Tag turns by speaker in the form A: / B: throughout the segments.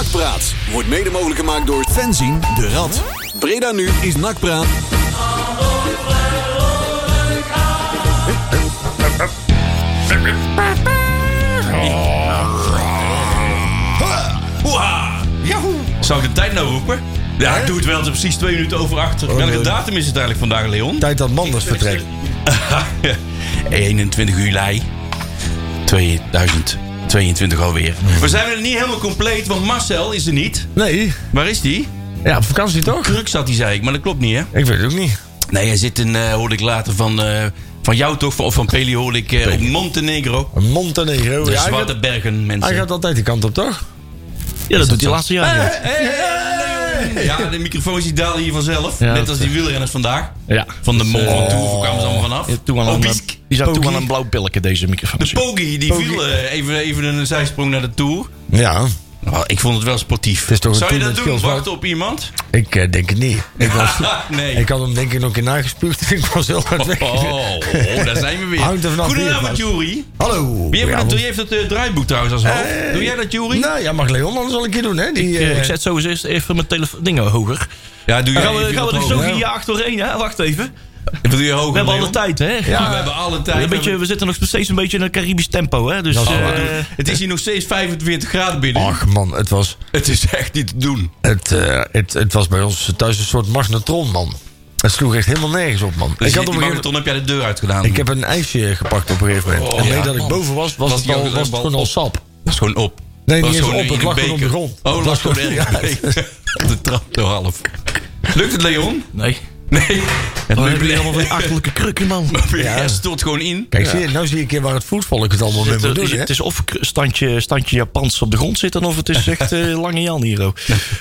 A: Nakpraat wordt mede mogelijk gemaakt door Fenzien de Rad. Breda nu is Nakpraat.
B: Zou ik de tijd nou roepen? Ja, ik doe het wel. Het is precies twee minuten over acht. Welke
C: Oh, nee.
B: datum is het eigenlijk vandaag, Leon?
C: Tijd dat Manders vertrekt.
B: 21 juli 2022 alweer. We zijn er niet helemaal compleet, want Marcel is er niet.
C: Nee.
B: Waar is die?
C: Ja, op vakantie toch?
B: Kruk zat hij, zei ik, maar dat klopt niet, hè?
C: Ik weet het ook niet.
B: Nee, hij zit in, eh hoorde ik later van, eh, van jou toch, of van Peli hoorde ik, eh, op Montenegro.
C: Montenegro.
B: De
C: Ja, hij,
B: Zwarte
C: gaat,
B: Bergen, mensen.
C: hij gaat altijd die kant op, toch?
D: Ja, dat doet hij
B: zo?
D: laatste jaar. ja.
B: Ja, de microfoons die dalen hier vanzelf.
D: Ja,
B: Net
D: dat-
B: als die wielrenners vandaag.
C: Eh?
D: Ja.
B: Van
C: Dus,
B: de Mont Ventoux kwamen ze allemaal vanaf.
D: Ja, Toen aan een, eh,
B: Obiesk.
D: die zat toen
C: Pogie.
D: aan een blauw pilletje, deze microfoon.
B: Oh,
C: Dus,
B: De Pogi, die viel eh, even, even een zijsprong naar de Tour.
C: Ja.
B: Nou, ik vond het wel sportief.
C: is toch een
B: Zou je
C: team
B: dat
C: met
B: doen?
C: skills,
B: Wachten op iemand?
C: Ik eh, denk het niet. Ik, was,
B: nee.
C: ik had hem denk ik nog een keer nagespuugd. Ik was heel hard weg.
B: Oh, oh, daar zijn we weer.
C: Hangt er vanaf
B: Goedenavond,
C: wie
B: Jury.
C: Hallo.
B: Wie
C: Ja,
B: heeft, het,
C: want-
B: wie heeft het eh, draaiboek trouwens als hoofd?
C: Eh,
B: Doe jij dat, Jury?
C: Nou ja, mag Leon anders wel een keer doen, hè? Die,
D: Ik, eh,
C: eh,
D: ik zet zo eens eerst even mijn telefoon dingen hoger.
B: Ja, doe jij
D: gaan we,
B: even
D: gaan we
B: wat
D: er zo
B: hoger.
D: gejaagd doorheen, hè? Wacht even.
B: Doe je hoger,
D: We hebben alle
B: Leon?
D: tijd, hè?
B: Ja, we hebben alle Oh, tijd.
D: Een beetje,
C: eh,
D: we zitten nog steeds een beetje in een Caribisch tempo, hè? Dus,
C: is
D: eh,
C: waar.
B: Het is hier nog steeds 45 graden binnen.
C: eh, Ach man, het was,
B: Het is echt niet te doen.
C: het, eh, het, het was bij ons thuis een soort magnetron, man. Het sloeg echt helemaal nergens op, man.
B: Dus
C: ik, had
B: die
C: op een gegeven,
B: marathon heb jij de deur uitgedaan.
C: ik heb een ijsje gepakt op een gegeven moment.
B: Oh,
C: en
B: ja,
C: nadat ik
B: man.
C: boven was, was,
B: Was
C: het,
B: die
C: al,
B: ook
C: was het
B: wel
C: gewoon al
B: op?
C: sap.
B: Dat is gewoon op.
C: Nee,
B: Dat
C: niet
B: is
C: eens
B: gewoon
C: op.
B: in
C: Het
B: een
C: lag gewoon op de
B: beker.
C: grond.
B: Oh,
C: Het
B: het lag gewoon in
C: ja.
B: de beker. De trap door half. Lukt het, Leon?
D: nee.
B: Nee. Het
D: We
B: lukt
D: hebben
B: niet.
D: hier allemaal weer achterlijke krukken, man.
B: Ja, stort gewoon in.
C: Kijk, zie je, nou zie ik hier waar het voetvolk het allemaal mee
D: Het,
C: moet doen,
D: is-
C: hè?
D: het is of standje, standje Japans op de grond zitten, of het is echt eh, lange Jan hier. oh.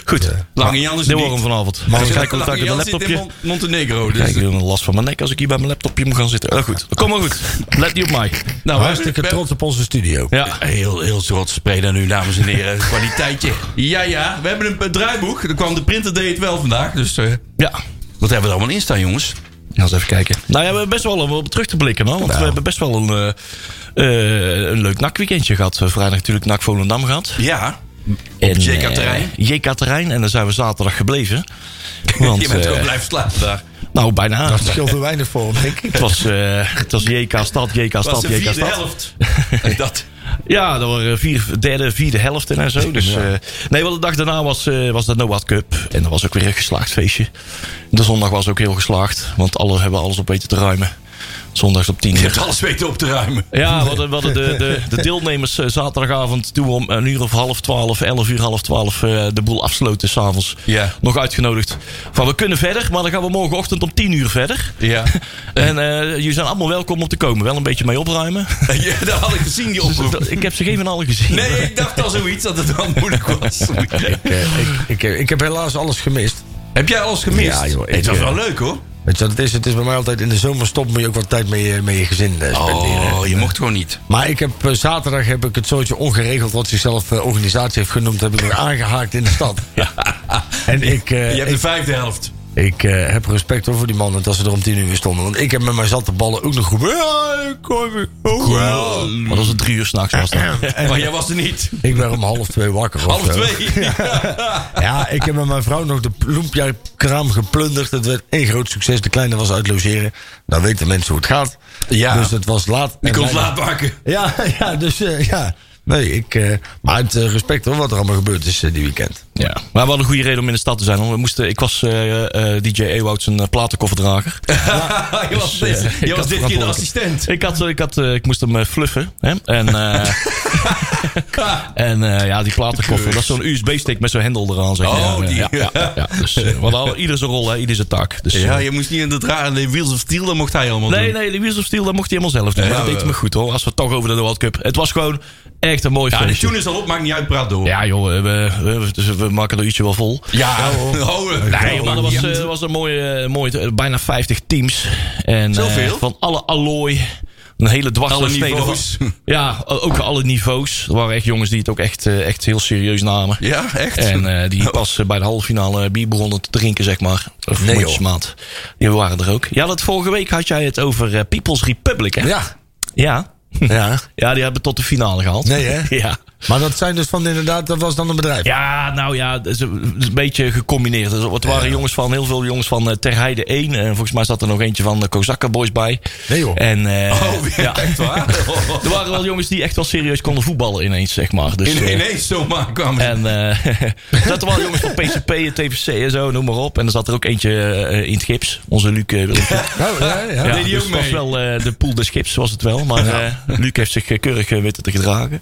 D: Goed,
B: Lange Jan is
D: de
B: niet.
D: warm vanavond.
B: Hij
D: Maar
B: zit-
D: ik kijk contact
B: Lange
D: met mijn
B: Jan zit in
D: laptopje.
B: Mon- Montenegro. Dus
D: Kijk, ik heb last van mijn nek als ik hier bij mijn laptopje moet gaan zitten. Eh, goed, kom maar goed. Let niet op mij.
B: nou,
C: Hartstikke
B: we- we-
C: trots op onze studio.
D: Ja.
B: Heel, heel trots Breda nu, dames en heren. Kwaliteitje. Ja, ja. We hebben een eh, draaiboek. Er kwam de printer deed het wel vandaag. Dus eh,
D: Ja.
B: wat hebben we er allemaal in staan, jongens?
D: Ja, eens even kijken. Nou ja, we hebben best wel om op terug te blikken, hoor. Want we hebben best wel een, eh, eh, een leuk nakweekendje gehad. Eh, Vrijdag natuurlijk NAC Volendam gehad.
B: Ja.
D: En,
B: het
D: eh,
B: JK-terrein.
D: JK-terrein. En dan zijn we zaterdag gebleven. Want,
B: Je bent
D: eh,
B: ook blijven slapen daar.
D: nou, bijna.
C: Dat scheelt er weinig voor, denk ik.
D: Het was, eh, het was JK-stad,
B: Het was
D: JK-stad,
B: de vierde
D: JK-stad.
B: helft. En dat.
D: Ja, dat waren vier, derde, vierde helft en zo. Dus, eh, nee, wel de dag daarna was, eh, was de Noah Cup. En dat was ook weer een geslaagd feestje. De zondag was ook heel geslaagd. Want alle hebben alles op weten te ruimen. Zondags op 10
B: Je
D: uur.
B: hebt alles weten op te ruimen.
D: Ja, we hadden, we hadden de, de, de deelnemers eh, zaterdagavond toen we om eh, een uur of half twaalf, elf uur half twaalf eh, de boel afsloten s'avonds.
B: Ja.
D: Nog uitgenodigd. Van we kunnen verder, maar dan gaan we morgenochtend om tien uur verder.
B: Ja.
D: En eh, jullie zijn allemaal welkom om te komen. Wel een beetje mee opruimen. Dus
B: ja. Dat had ik gezien, die oproep.
D: Ik heb ze geen van allen gezien.
B: Nee, ik dacht al zoiets dat het wel moeilijk was.
C: Eh, ik, ik, heb- ik heb helaas alles gemist.
B: Heb jij alles gemist?
C: Ja, joh,
B: Nee, het
C: ik,
B: was
C: eh,
B: wel leuk, hoor.
C: Weet je wat het is? Het is bij mij altijd in de zomerstop moet je ook wat tijd met je, met je gezin eh, spenderen.
B: Oh, je mocht gewoon niet.
C: Maar ik heb, eh, zaterdag heb ik het soortje ongeregeld, wat zichzelf eh, organisatie heeft genoemd, heb ik weer aangehaakt in de stad. En ik, eh,
B: Je hebt
C: ik,
B: de vijfde helft.
C: ik, eh, heb respect hoor voor die mannen dat ze er om tien uur weer stonden. Want ik heb met mijn zatte ballen ook nog geroepen, "Ja, ik kom weer." Oh, wel.
D: Maar dat was om
B: Oh.
D: drie uur s'nachts was dat.
B: Maar jij was er niet.
C: Ik ben om half twee wakker. of
B: Half
C: zo.
B: twee.
C: Ja, ik heb met mijn vrouw nog de bloempjaarkraam geplunderd. Het werd één groot succes. De kleine was uit logeren. Dan weten mensen hoe het gaat.
B: Ja.
C: Dus het was laat.
B: Die
C: En
B: kon het
C: bijna-
B: laat maken.
C: Ja, ja, dus eh, ja. Nee, ik, eh, maar het eh, respect hoor, wat er allemaal gebeurd is eh, die weekend.
D: Ja, maar we hadden een goede reden om in de stad te zijn. hoor. We moesten, ik was eh, eh, DJ Ewout zijn eh, platenkofferdrager.
B: je was, dit,
D: eh,
B: je was dit
D: ik had
B: keer de
D: verantwoordelijk.
B: assistent.
D: ik, had, ik, had, eh, ik moest hem eh, fluffen. Hè? En, eh, en eh, ja, die platenkoffer, dat is zo'n USB-stick met zo'n hendel eraan. Zeg.
B: Oh,
D: ja,
B: die.
D: Ja, ja, ja, ja. Dus, eh, we hadden al- ieder zijn rol, hè, ieder zijn taak. Dus,
B: Ja,
D: eh,
B: je moest niet in de, dra- de Wheels of Steel, dat mocht hij allemaal
D: Nee,
B: doen.
D: nee, de Wheels of Steel, dat mocht hij helemaal zelf doen.
B: Ja,
D: maar dat
B: ja.
D: deed hij me goed hoor, als we het toch over de World Cup. Het was gewoon echt een mooi
B: Ja, de
D: feestje.
B: tune is al op, maakt niet uit, praat door.
D: Ja joh, eh, we, we, we- we maken er ietsje wel vol.
B: Ja, oh, eh, dat
D: Nee, maar
B: maakt
D: dat was,
B: niet
D: eh,
B: uit.
D: dat was een mooie, eh, mooie eh, bijna 50 teams. En, eh,
B: Zoveel?
D: van alle allooi. Een hele dwars
B: Alle
D: door snede van-
B: niveaus.
D: Ja, o- ook alle niveaus. Er waren echt jongens die het ook echt, eh, echt heel serieus namen.
B: Ja, echt?
D: En eh, die pas eh, bij de halve finale bier begonnen te drinken, zeg maar. Of
C: Nee,
D: mondjesmaat. Die waren er ook. Ja, dat vorige week had jij het over eh, People's Republic, hè?
C: Ja.
D: Ja.
C: Ja.
D: Ja, die hebben tot de finale gehaald.
C: Nee, hè?
D: ja.
C: Maar dat zijn dus van inderdaad, dat was dan een bedrijf.
D: Ja, nou ja, het is een het is een beetje gecombineerd. Dus Het waren jongens van, heel veel jongens van eh, Terheide 1. En volgens mij zat er nog eentje van de Kozakka Boys bij.
C: Nee, joh.
D: En, eh,
B: Oh,
D: ja.
B: echt waar?
D: Er waren wel jongens die echt wel serieus konden voetballen ineens, zeg maar. Dus,
B: In,
D: eh,
B: ineens zomaar kwamen ze.
D: En eh, er zaten wel jongens van PCP en TVC en zo, noem maar op. En er zat er ook eentje eh, in het gips, onze Luc. eh, Willempje.
C: Oh, ja, ja.
D: Ja,
B: Deed die
D: dus
B: ook
D: het was
B: mee?
D: wel eh, de pool des gips, was het wel. Maar eh, Luc heeft zich eh, keurig eh, weten te gedragen.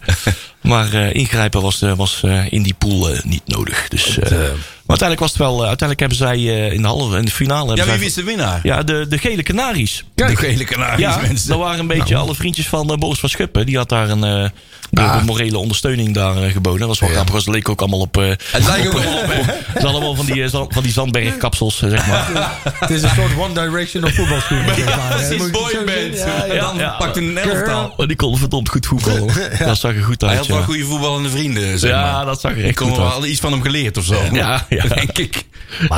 D: maar eh, ingrijpen was, eh, was eh, in die pool eh, niet nodig. Dus, eh, maar uiteindelijk was het wel... eh, uiteindelijk hebben zij eh, in, de halve, in de
B: Ja,
D: finale... hebben
B: wie
D: zij-
B: wist de winnaar?
D: Ja, de, de gele Canaries.
B: De gele Canaries,
D: Ja,
B: mensen. Nou.
D: dat waren een beetje alle vriendjes van eh, Boris van Schuppen. Die had daar een eh, door de morele ondersteuning daar eh, geboden. Dat was wel grappig, want ze leken ook allemaal op... eh
B: Het lijkt ook wel op, hè?
D: ze hadden allemaal van die, eh, zand- van die zandbergkapsels, eh, zeg maar.
C: Het is een soort One Direction of voetbalschoen.
B: Ja, precies, boyband. en dan
D: ja.
B: pakt een elftal.
D: Maar die konden verdomd goed voetballen. Dat zag er goed uit,
B: Hij had wel
D: ja.
B: goede voetballende vrienden, zeg maar.
D: Ja, dat zag er
B: Ik
D: echt
B: kon
D: goed
B: wel
D: uit.
B: al iets van hem geleerd of zo.
D: Ja, ja.
B: Denk ik.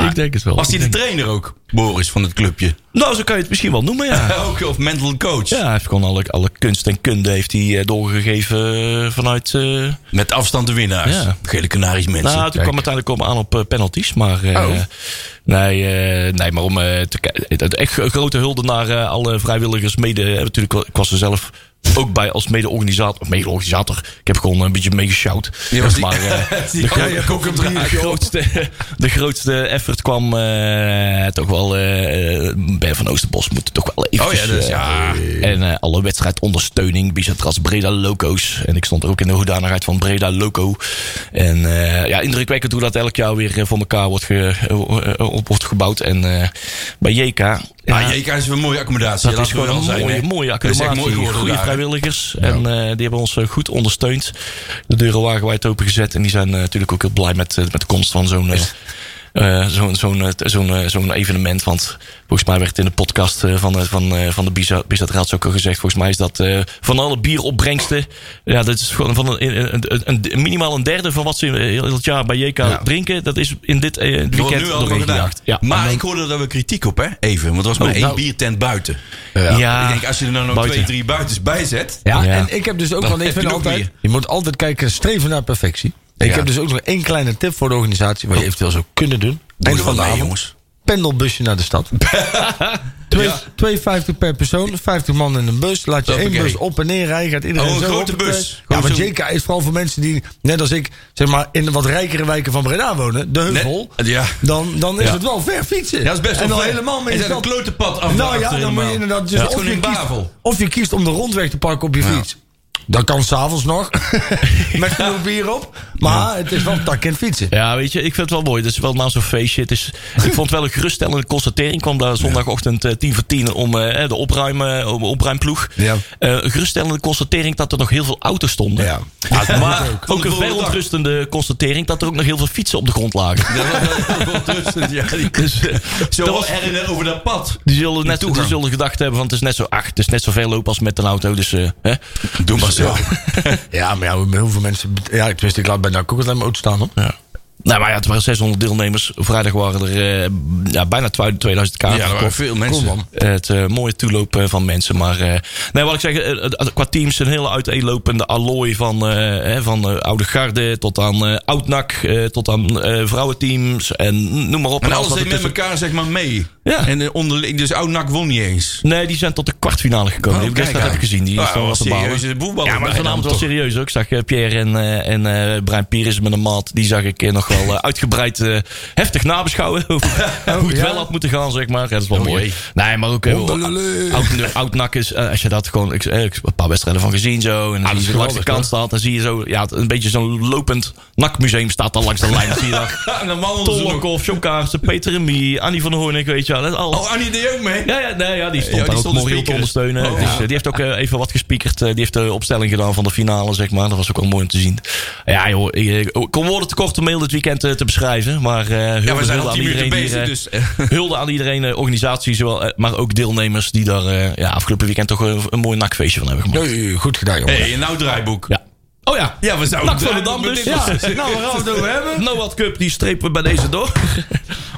D: ik denk het wel.
B: Was hij
D: Ik
B: de
D: denk-
B: trainer ook, Boris, van het clubje?
D: Nou, zo kan je het misschien wel noemen, ja.
B: Ook, of mental coach?
D: Ja, hij heeft gewoon alle, alle kunst en kunde heeft hij eh, doorgegeven eh, vanuit... eh,
B: Met afstand de winnaars.
D: Ja.
B: Gele Canaries mensen.
D: nou, toen kwam het uiteindelijk om aan op eh, penalties, maar... eh,
B: Oh.
D: nee, eh, nee, maar om eh, te kijken... Echt een grote hulde naar eh, alle vrijwilligers, mede... eh, natuurlijk, ik was er zelf ook bij als mede-organisator. Of mede-organisator. Ik heb gewoon een beetje meegeshout.
B: Je was die-
D: Maar, eh,
B: die
D: gro-
B: had je ook een
D: de,
B: draadje op.
D: grootste, de grootste effort kwam eh, toch wel... eh ben van Oosterbos moet toch wel even...
B: Oh ja, dus ja.
D: En eh, alle wedstrijdondersteuning, Bizatras, Breda Loco's. En ik stond er ook in de hoedanigheid van Breda Loco. En eh, ja, indrukwekkend hoe dat elk jaar weer eh, voor elkaar wordt, ge- eh, eh, op wordt gebouwd. En eh, bij JK... ja,
B: Ah, JK is weer een mooie accommodatie.
D: dat is
B: laten we
D: gewoon een
B: wel zijn,
D: mooie,
B: hè.
D: mooie
B: Dat is echt
D: accommodatie.
B: mooi geworden
D: Goede
B: daar, hè.
D: vrijwilligers. En eh, die hebben ons eh, goed ondersteund. De deuren waren wijd opengezet. En die zijn eh, natuurlijk ook heel blij met, eh, met de komst van zo'n... eh, eh, zo'n zo'n eh, zo'n eh, zo'n evenement. Want volgens mij werd het in de podcast eh, van, eh, van, eh, van de Bisa- Bizatraads ook al gezegd. Volgens mij is dat eh, van alle bieropbrengsten. Ja, dat is gewoon van een, een, een, een- een- minimaal een derde van wat ze eh, heel heel het jaar bij JK drinken. Dat is in dit eh,
B: Dat wordt
D: weekend
B: nu allemaal
D: doorheen
B: gedaan.
D: gejaagd. Ja. Nou,
B: Maar ik hoorde daar wel kritiek op, hè? Even. Want er was maar één biertent buiten.
D: Ja.
B: Ik denk, als je er nou nog
D: Buiten.
B: twee, drie buitens bij zet.
C: Ja,
D: Ja.
C: en ik heb dus ook, want ik
B: heb je
C: vind
B: nog
C: altijd,
B: meer.
C: je moet altijd kijken, streven naar perfectie. Ik
B: Ja.
C: heb dus ook nog één kleine tip voor de organisatie, wat je eventueel zou kunnen doen.
B: Doe
C: Eind
B: er
C: van
B: wat
C: de
B: mee,
C: avond.
B: jongens.
C: pendelbusje naar de stad. Twee- 2,50 per persoon, 50 man in een bus. Laat je één
B: Hoppakee.
C: bus op en neer rijden. Gaat iedereen
B: Oh, een
C: zo
B: grote
C: op en neer.
B: bus.
C: Ja,
B: Gewoon
C: want
B: zo'n-
C: JK is vooral voor mensen die, net als ik, zeg maar in de wat rijkere wijken van Breda wonen, de heuvel.
B: Net- ja.
C: Dan, dan is
D: Ja.
C: het wel ver fietsen.
B: Ja, dat is best wel
C: En dan
B: ver.
C: helemaal met
B: En
C: de
B: dan
C: stad.
B: een klote pad af naar
C: Nou ja,
B: achter
C: dan moet je
B: helemaal.
C: inderdaad. Dus
B: Ja.
C: of,
B: Gewoon
C: je
B: in
C: kiest,
B: Bavel.
C: of je kiest om de rondweg te pakken op je fiets. Dat kan s'avonds nog. met genoeg bier op. Maar het is wel tak en fietsen.
D: Ja, weet je, ik vind het wel mooi. Het is wel na zo'n feestje. Het is, ik vond het wel een geruststellende constatering. Ik kwam daar zondagochtend eh, tien voor tien om eh, de opruim, eh, om- opruimploeg.
C: Ja.
D: Eh, een geruststellende constatering dat er nog heel veel auto's stonden.
C: Ja.
D: maar
B: Van
D: ook
B: de
D: een
B: volgende
D: veel
B: dag.
D: ontrustende constatering dat er ook nog heel veel fietsen op de grond lagen.
B: Dat was wel heel ontrustend, ja. Die-
D: Dus, eh,
B: Zo
D: dat
B: was
D: was-
B: er en er over dat pad.
D: die zullen, net, die
B: toegang.
D: zullen gedacht hebben van het is net zo acht, het is net zoveel lopen als met een auto. Dus eh, hè?
B: Doe maar zo.
C: Dus, Ja, maar ja, heel veel mensen. Ja, ik wist, ik laat bijna ook alleen mijn auto staan. Hoor.
D: Nou, maar ja, het waren 600 deelnemers. Vrijdag waren er eh, ja, bijna 2000 kaarten
B: Ja, er waren
D: verkocht.
B: veel mensen.
C: Kom dan.
D: Het eh, mooie toelopen van mensen. Maar eh, nee, wat ik zeg, eh, eh, qua teams een hele uiteenlopende allooi van, eh, hè, van eh, oude garde tot aan eh oud-nak, eh, tot aan eh, vrouwenteams en noem maar op.
B: En
D: En alles
B: alles
D: wat
B: deed met
D: ertussen-
B: elkaar zeg maar mee.
D: Ja. Oh,
B: En eh, onderling, dus Oud-Nak won niet eens.
D: Nee, die zijn tot de kwartfinale gekomen.
B: Oh,
D: Die heb ik
B: kijk
D: gisteren heb ik gezien. Die
B: aan.
D: is dan
B: Oh,
D: wat te balen.
B: serieuze voetballer
D: Ja, maar
B: bijna
D: vanavond wel
B: toch?
D: serieus ook. Ik zag eh, Pierre en, eh, en eh, Brian Pieris met een maat. Die zag ik eh, nog wel eh, uitgebreid eh, heftig nabeschouwen. hoe hoe het
C: ja?
D: wel had moeten gaan, zeg maar. Ja, dat is wel mooi.
B: Oh, jee.
D: Nee, maar ook... eh,
C: Hondelele.
D: oud- Oud-nak is, eh, als je dat gewoon... Ik, eh, ik heb een paar wedstrijden van gezien zo. En dan zie je langs de
C: geweldig,
D: kant staat. Dan zie je zo... Ja, het- een beetje zo'n lopend nakmuseum staat dan langs de lijn. Dan zie je daar
B: En dan wandelden ze nog.
D: Tolokov, John Kaarsen, Peter Remie, Annie van Hoornik, weet je wel. Dat is alles.
B: Oh, Annie deed ook mee.
D: Ja, ja, nee, ja die stond
B: Ja, die
D: daar
B: stond
D: ook
B: te
D: moreel te
B: speakeren.
D: ondersteunen.
B: Oh,
D: Dus,
B: ja.
D: eh, die heeft ook eh, even wat gespiekerd. Eh, die heeft de opstelling gedaan van de finale, zeg maar. Dat was ook wel mooi om te zien. Ja, joh, ik, eh, ik ik kon woorden tekort om heel dit weekend eh, te beschrijven. Maar eh hulde,
B: Ja, we zijn
D: hulde
B: al
D: aan
B: tien minuten
D: iedereen
B: bezig,
D: die, eh,
B: dus...
D: Hulde aan iedereen, eh, organisatie, zowel, eh, maar ook deelnemers die daar eh, ja, afgelopen weekend toch een, een mooi nakfeestje van hebben gemaakt.
C: Nee, goed gedaan, jongen.
B: hey, nou draaiboek.
D: Ja. Oh ja.
B: Ja, we zouden
D: Nak van de Dam dus.
B: Ja.
D: Nou, wat Cup, die strepen we bij deze door.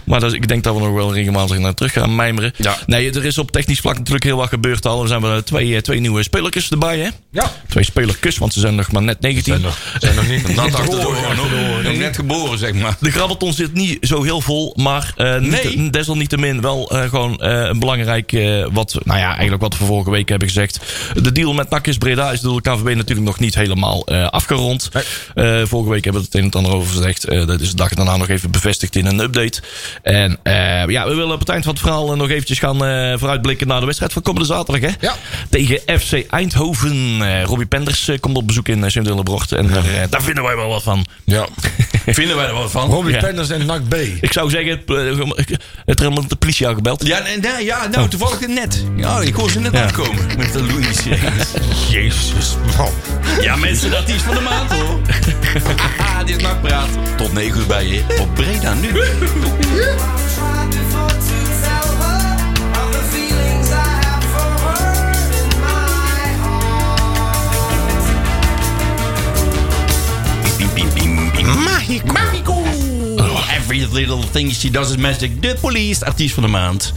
D: Maar dat, ik denk dat we nog wel regelmatig naar terug gaan mijmeren.
B: Ja.
D: Nee, er is op technisch vlak natuurlijk heel wat gebeurd al. Er zijn wel twee, eh, twee nieuwe spelertjes erbij, hè?
C: Ja.
D: Twee spelertjes, want ze zijn nog maar net 19.
B: Zijn nog niet. Dat achterdoor.
D: Geboren,
B: Nog, nog net geboren, zeg maar.
D: De grabbelton zit niet zo heel vol, maar eh, niet-
B: Nee.
D: desalniettemin wel eh, gewoon eh, een belangrijk, eh, wat, nou ja, eigenlijk wat we vorige week hebben gezegd. De deal met NAC is Breda is door de KVB natuurlijk nog niet helemaal eh, afgerond. Eh, vorige week hebben we het een en het ander over gezegd. Eh, dat is de dag daarna nog even bevestigd in een update. En eh, ja, we willen op het eind van het verhaal eh, nog eventjes gaan eh, vooruitblikken naar de wedstrijd van komende zaterdag. Hè?
C: Ja.
D: Tegen FC Eindhoven. Eh, Robbie Penders eh, komt op bezoek in uh, Sint-Willebrocht. En daar, eh, daar vinden wij wel wat van.
C: Ja.
B: Vinden wij er wat van?
C: Robbie
D: Ja.
C: Penders en NAC B.
D: Ik zou zeggen, het, eh, het helemaal de politie jou gebeld.
B: Ja, nee, nee, ja, nou, toevallig net. Ja, ik hoor ze net aankomen. Met de Louis. Jezus.
C: Man.
B: Ja, mensen, dat is van de maand, hoor. Haha, Ah, dit is nakpraat. Tot 9 uur bij je op Breda nu.
E: Tried before to tell her all the feelings I have for her in my heart.
B: Magico. Oh, Every little thing she does is magic. De police, artiest van de maand.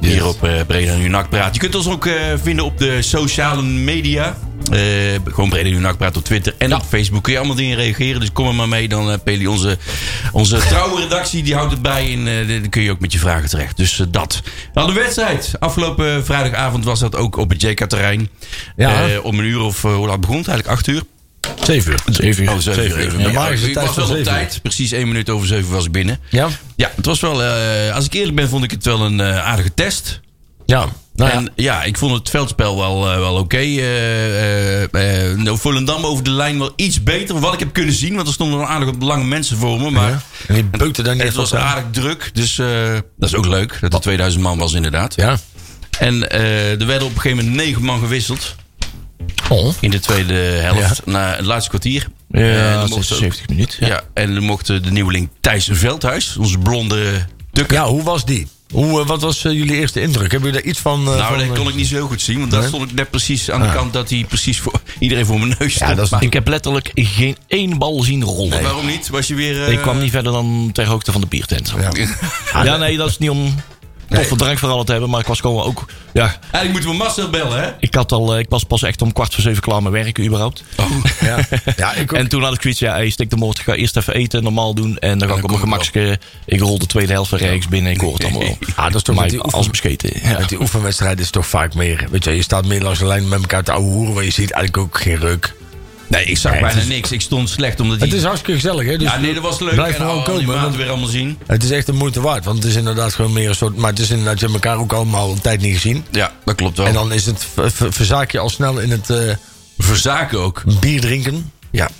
B: Hier op eh, Breda Nu Nakpraat. Je kunt ons ook eh, vinden op de sociale media. Eh, gewoon Breda Nu Nakpraat op Twitter en op Facebook. Kun je allemaal dingen reageren. Dus kom er maar mee. Dan eh Peli, onze, onze trouwe redactie, die houdt het bij. En eh, dan kun je ook met je vragen terecht. Dus eh, dat. Nou, de wedstrijd. Afgelopen eh, vrijdagavond was dat ook op het JK-terrein.
C: Ja.
B: om een uur of, eh, hoe laat begon het? Eigenlijk acht uur.
C: Zeven uur. Zeven
B: Oh, zeven uur. Even.
C: Normaal is
B: Ja,
C: de
B: ik
C: tijd
B: was
C: van
B: wel op
C: zeven uur.
B: tijd. Precies één minuut over zeven was ik binnen.
C: Ja.
B: Ja, het was wel... eh, als ik eerlijk ben, vond ik het wel een eh, aardige test.
C: Ja. Nou ja.
B: En ja, ik vond het veldspel wel, eh, wel oké. Eh, eh, eh, nou, Volendam over de lijn wel iets beter. Wat ik heb kunnen zien, want er stonden een aardig wat lange mensen voor me. Maar
C: Ja. En die beukte daar niet
B: het
C: echt
B: was
C: op aan.
B: aardig druk. Dus eh, dat is ook leuk. Dat er 2000 man was inderdaad.
C: Ja.
B: En eh, er werden op een gegeven moment negen man gewisseld.
C: Oh.
B: In de tweede helft. Na het laatste kwartier. Eh, er mochten ook-
D: minuten.
B: Ja, en dan mocht eh, de nieuweling Thijs Veldhuis, onze blonde dukker.
C: Ja, hoe was die? Hoe, eh, wat was eh, jullie eerste indruk? Hebben jullie daar iets van... eh, van,
B: Nou, dat
C: eh,
B: kon ik niet zo heel goed zien, want daar
C: Nee? Ah.
B: stond ik net precies aan de kant dat hij precies voor iedereen voor mijn neus stond.
C: dat is
B: Maar
D: Ik heb letterlijk geen één bal zien rollen.
B: Waarom niet? Was je weer. eh,
D: Ik kwam niet verder dan ter hoogte van de biertent. Ja, nee, dat is niet om toffe drankverhalen te hebben, maar ik was gewoon ook... Ja,
B: Eigenlijk moeten we Marcel bellen, hè?
D: ik, had al, eh, ik was pas echt om kwart voor zeven klaar met werken überhaupt.
C: Ja, ja ik ook.
D: En toen had ik zoiets, ja, hey, stik de moord, ik ga eerst even eten, normaal doen. En dan ga ik op
B: komt
D: mijn gemakske... Ik rol de tweede helft van rechts binnen, ik hoor het allemaal wel.
C: Ah, dat is toch
D: Maar
C: met die
D: ik-
C: oefen-
D: als bescheten. ja.
C: Met die oefenwedstrijd is toch vaak meer... Weet je, je staat meer langs de lijn met elkaar te ouwe hoeren... waar je ziet eigenlijk ook geen reuk.
B: Nee, ik zag
C: Nee,
B: bijna
C: het is-
B: niks. Ik stond slecht omdat hij.
C: Het is hartstikke gezellig, hè? Dus
B: Ja, nee, dat was leuk.
C: Blijf
B: en
C: gewoon
B: al die
C: komen.
B: maanden
C: want
B: weer allemaal zien.
C: Het is echt de moeite waard. Want het is inderdaad gewoon meer een soort... Maar het is inderdaad, je hebt elkaar ook allemaal een tijd niet gezien.
B: Ja, dat klopt wel.
C: En dan is het... ver- ver- Verzaak je al snel in het eh,
B: verzaken ook.
C: bier drinken.
B: Ja.
C: En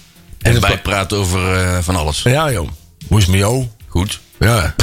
B: En
C: het-
B: wij praten over eh, van alles.
C: Ja, joh. Hoe is het met jou?
B: Goed.
C: Ja.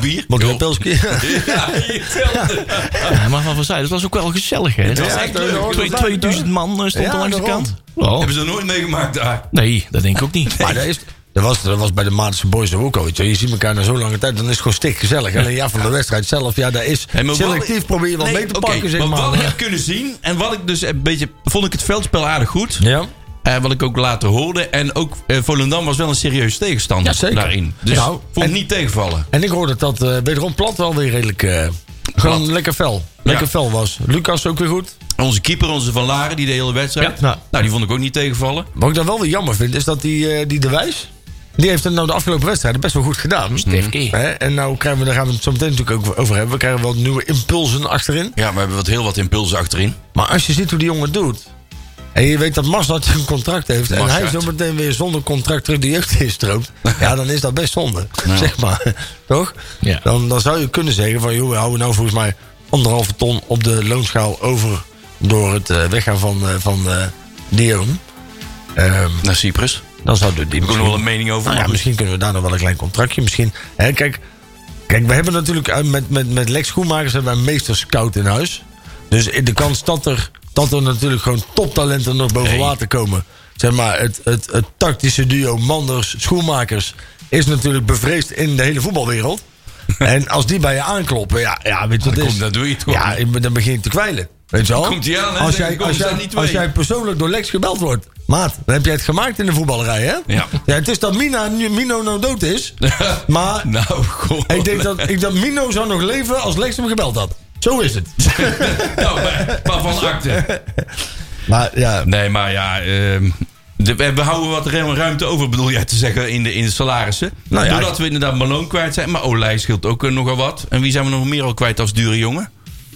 B: Bier?
C: Want
B: Joh.
C: een pilsje?
B: Ja, je telt het.
D: Ja, maar wat we zeiden, het was ook wel gezellig, hè?
B: was
C: Ja,
B: echt
C: dat is
B: leuk.
C: ook
D: Twee-
C: wel vaak,
D: 2000 man eh, stond
C: Ja,
D: er langs de
C: daarom.
D: kant. Wow.
B: Hebben ze dat nooit meegemaakt daar?
D: Nee, dat denk ik ook niet.
C: Maar dat, is, dat, was, dat was bij de Maartense Boys toch ook al. Weet je. je ziet elkaar na zo'n lange tijd, dan is het gewoon stik gezellig. Alleen ja, van de wedstrijd zelf, ja, daar is
B: Hey, maar wat-
C: selectief probeer je wel
B: Nee,
C: mee te
B: oké,
C: pakken, zeg
B: Wat ik
C: maar.
B: heb kunnen zien en wat ik dus een beetje... Vond ik het veldspel aardig goed.
C: Ja,
B: Eh, wat ik ook later hoorde. En ook eh, Volendam was wel een serieus tegenstander
C: Ja, zeker.
B: daarin. Dus
C: Nou,
B: vond ik
C: en-
B: niet tegenvallen.
C: en ik hoorde dat eh wederom Plat wel weer redelijk... eh, gewoon
B: Plat.
C: lekker fel. Lekker
B: Ja.
C: fel was. Lucas ook weer goed.
B: Onze keeper, onze Van Laren, die de hele wedstrijd.
C: Ja, nou.
B: Nou, die vond ik ook niet tegenvallen.
C: Wat ik dan wel weer jammer vind, is dat die, eh, die De Wijs... Die heeft het nou de afgelopen wedstrijden best wel goed gedaan.
D: Stefkie.
C: Hè, En nou krijgen we, daar gaan we het zo meteen natuurlijk ook over hebben. We krijgen wel nieuwe impulsen achterin.
B: Ja, maar we hebben wat, heel wat impulsen achterin.
C: Maar als je ziet hoe die jongen doet. En je weet dat Masnat een contract heeft. En
B: Mazat.
C: hij zo meteen weer zonder contract terug de jeugd instroomt. Ja, dan is dat best zonde. Zeg maar. Toch?
D: Ja.
C: Dan, dan zou je kunnen zeggen van... joh, we houden nou volgens mij anderhalve ton op de loonschaal over... door het eh, weggaan van, eh, van eh Dion. Ehm,
B: Naar Cyprus.
C: dan zouden die
B: Daar heb ik ook nog wel een mening over. Dus-
C: nou ja, misschien kunnen we daar nog wel een klein contractje. Misschien. Hè, kijk, kijk, we hebben natuurlijk eh, met, met, met Lex Schoenmakers hebben we een meesterscout in huis. Dus in de kans dat er, dat er natuurlijk gewoon toptalenten nog boven water komen. Zeg maar, het, het, het tactische duo Manders, Schoenmakers is natuurlijk bevreesd in de hele voetbalwereld. En als die bij je aankloppen, ja, ja weet je wat
B: Dan
C: het is?
B: komt- dan doe je het gewoon.
C: Ja, ik ben- dan begin je te kwijlen. Weet je wel?
B: Komt die aan, hè?
C: als
B: Dan
C: jij,
B: komen
C: als,
B: ze
C: jij,
B: niet
C: als
B: mee.
C: jij persoonlijk door Lex gebeld wordt... Maat, dan heb jij het gemaakt in de voetballerij, hè?
B: Ja.
C: ja het is dat Mina, nu- Mino nou dood is. maar
B: Nou, goh.
C: ik denk dat, ik, dat Mino zou nog leven als Lex hem gebeld had. Zo is het.
B: Nou, maar, maar van acte.
C: Maar ja,
B: Nee, maar ja. ehm, de- we we houden wat ru- ruimte over, bedoel jij te zeggen, in de, in de salarissen.
C: Nou ja,
B: Doordat we inderdaad Malone kwijt zijn. Maar Olij scheelt ook eh, nogal wat. En wie zijn we nog meer al kwijt als dure jongen?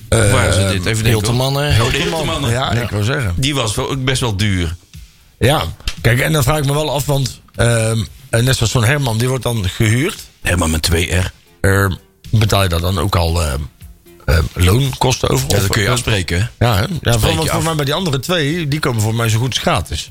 B: Of waren ze dit? Even denken. hoor.
D: Hilterman, eh,
B: Oh, de Hilterman.
C: ja, ik wil zeggen.
B: Die was wel, ook best wel duur.
C: Ja, kijk, en dan vraag ik me wel af, want ehm, eh, net zoals zo'n Herman, die wordt dan gehuurd.
B: Helemaal met 2R.
C: Ehm, betaal je daar dan ook al ehm, ehm, loonkosten over?
B: Ja,
C: Of-
B: dat kun je afspreken. hè?
C: Ja, hè? ja voor,
B: je
C: want voor
B: af.
C: mij bij die andere twee, die komen voor mij zo goed als gratis.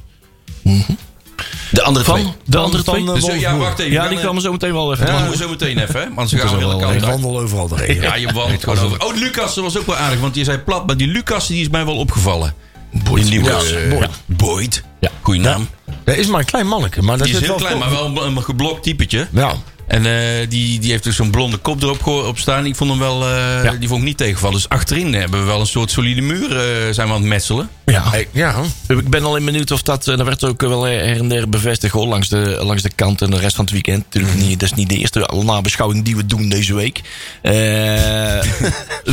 B: De andere
D: Van?
B: twee.
D: De andere
C: Van,
D: twee?
C: eh,
B: Dus, eh, ja,
C: Wolfsburg.
B: wacht even.
D: Ja,
B: Dan,
D: die
B: eh,
D: kwamen zo meteen wel even.
B: Dan
D: Ja.
B: moeten we zo meteen even, hè? Anders gaan we
D: wel
B: weer de
D: een
B: kant
C: Ik
B: uit.
C: wandel overal doorheen.
B: Ja, je wandelt gewoon over. Oh, Lucas dat was ook wel aardig, want je zei plat. Maar die Lucas die is mij wel opgevallen. Boyd. Lucas.
C: Ja,
B: eh,
C: Boyd.
B: ja. Boyd. Goeie naam.
C: Dat is maar een klein manneke, maar dat
B: Die is
C: zit
B: heel
C: wel
B: klein, maar
C: vol-
B: wel een geblokt typetje.
C: Ja.
B: En eh, die, die heeft dus zo'n blonde kop erop geho- op staan. Ik vond hem wel, eh, die vond ik niet tegenvallen. Dus achterin hebben we wel een soort solide muur eh, zijn we aan het metselen.
D: Ja.
C: Ik- ja.
D: Ik ben alleen benieuwd of dat. eh, Dat werd ook wel her en der bevestigd hoor, langs, de, langs de kant en de rest van het weekend. Natuurlijk niet, dat is niet de eerste nabeschouwing die we doen deze week. Eh,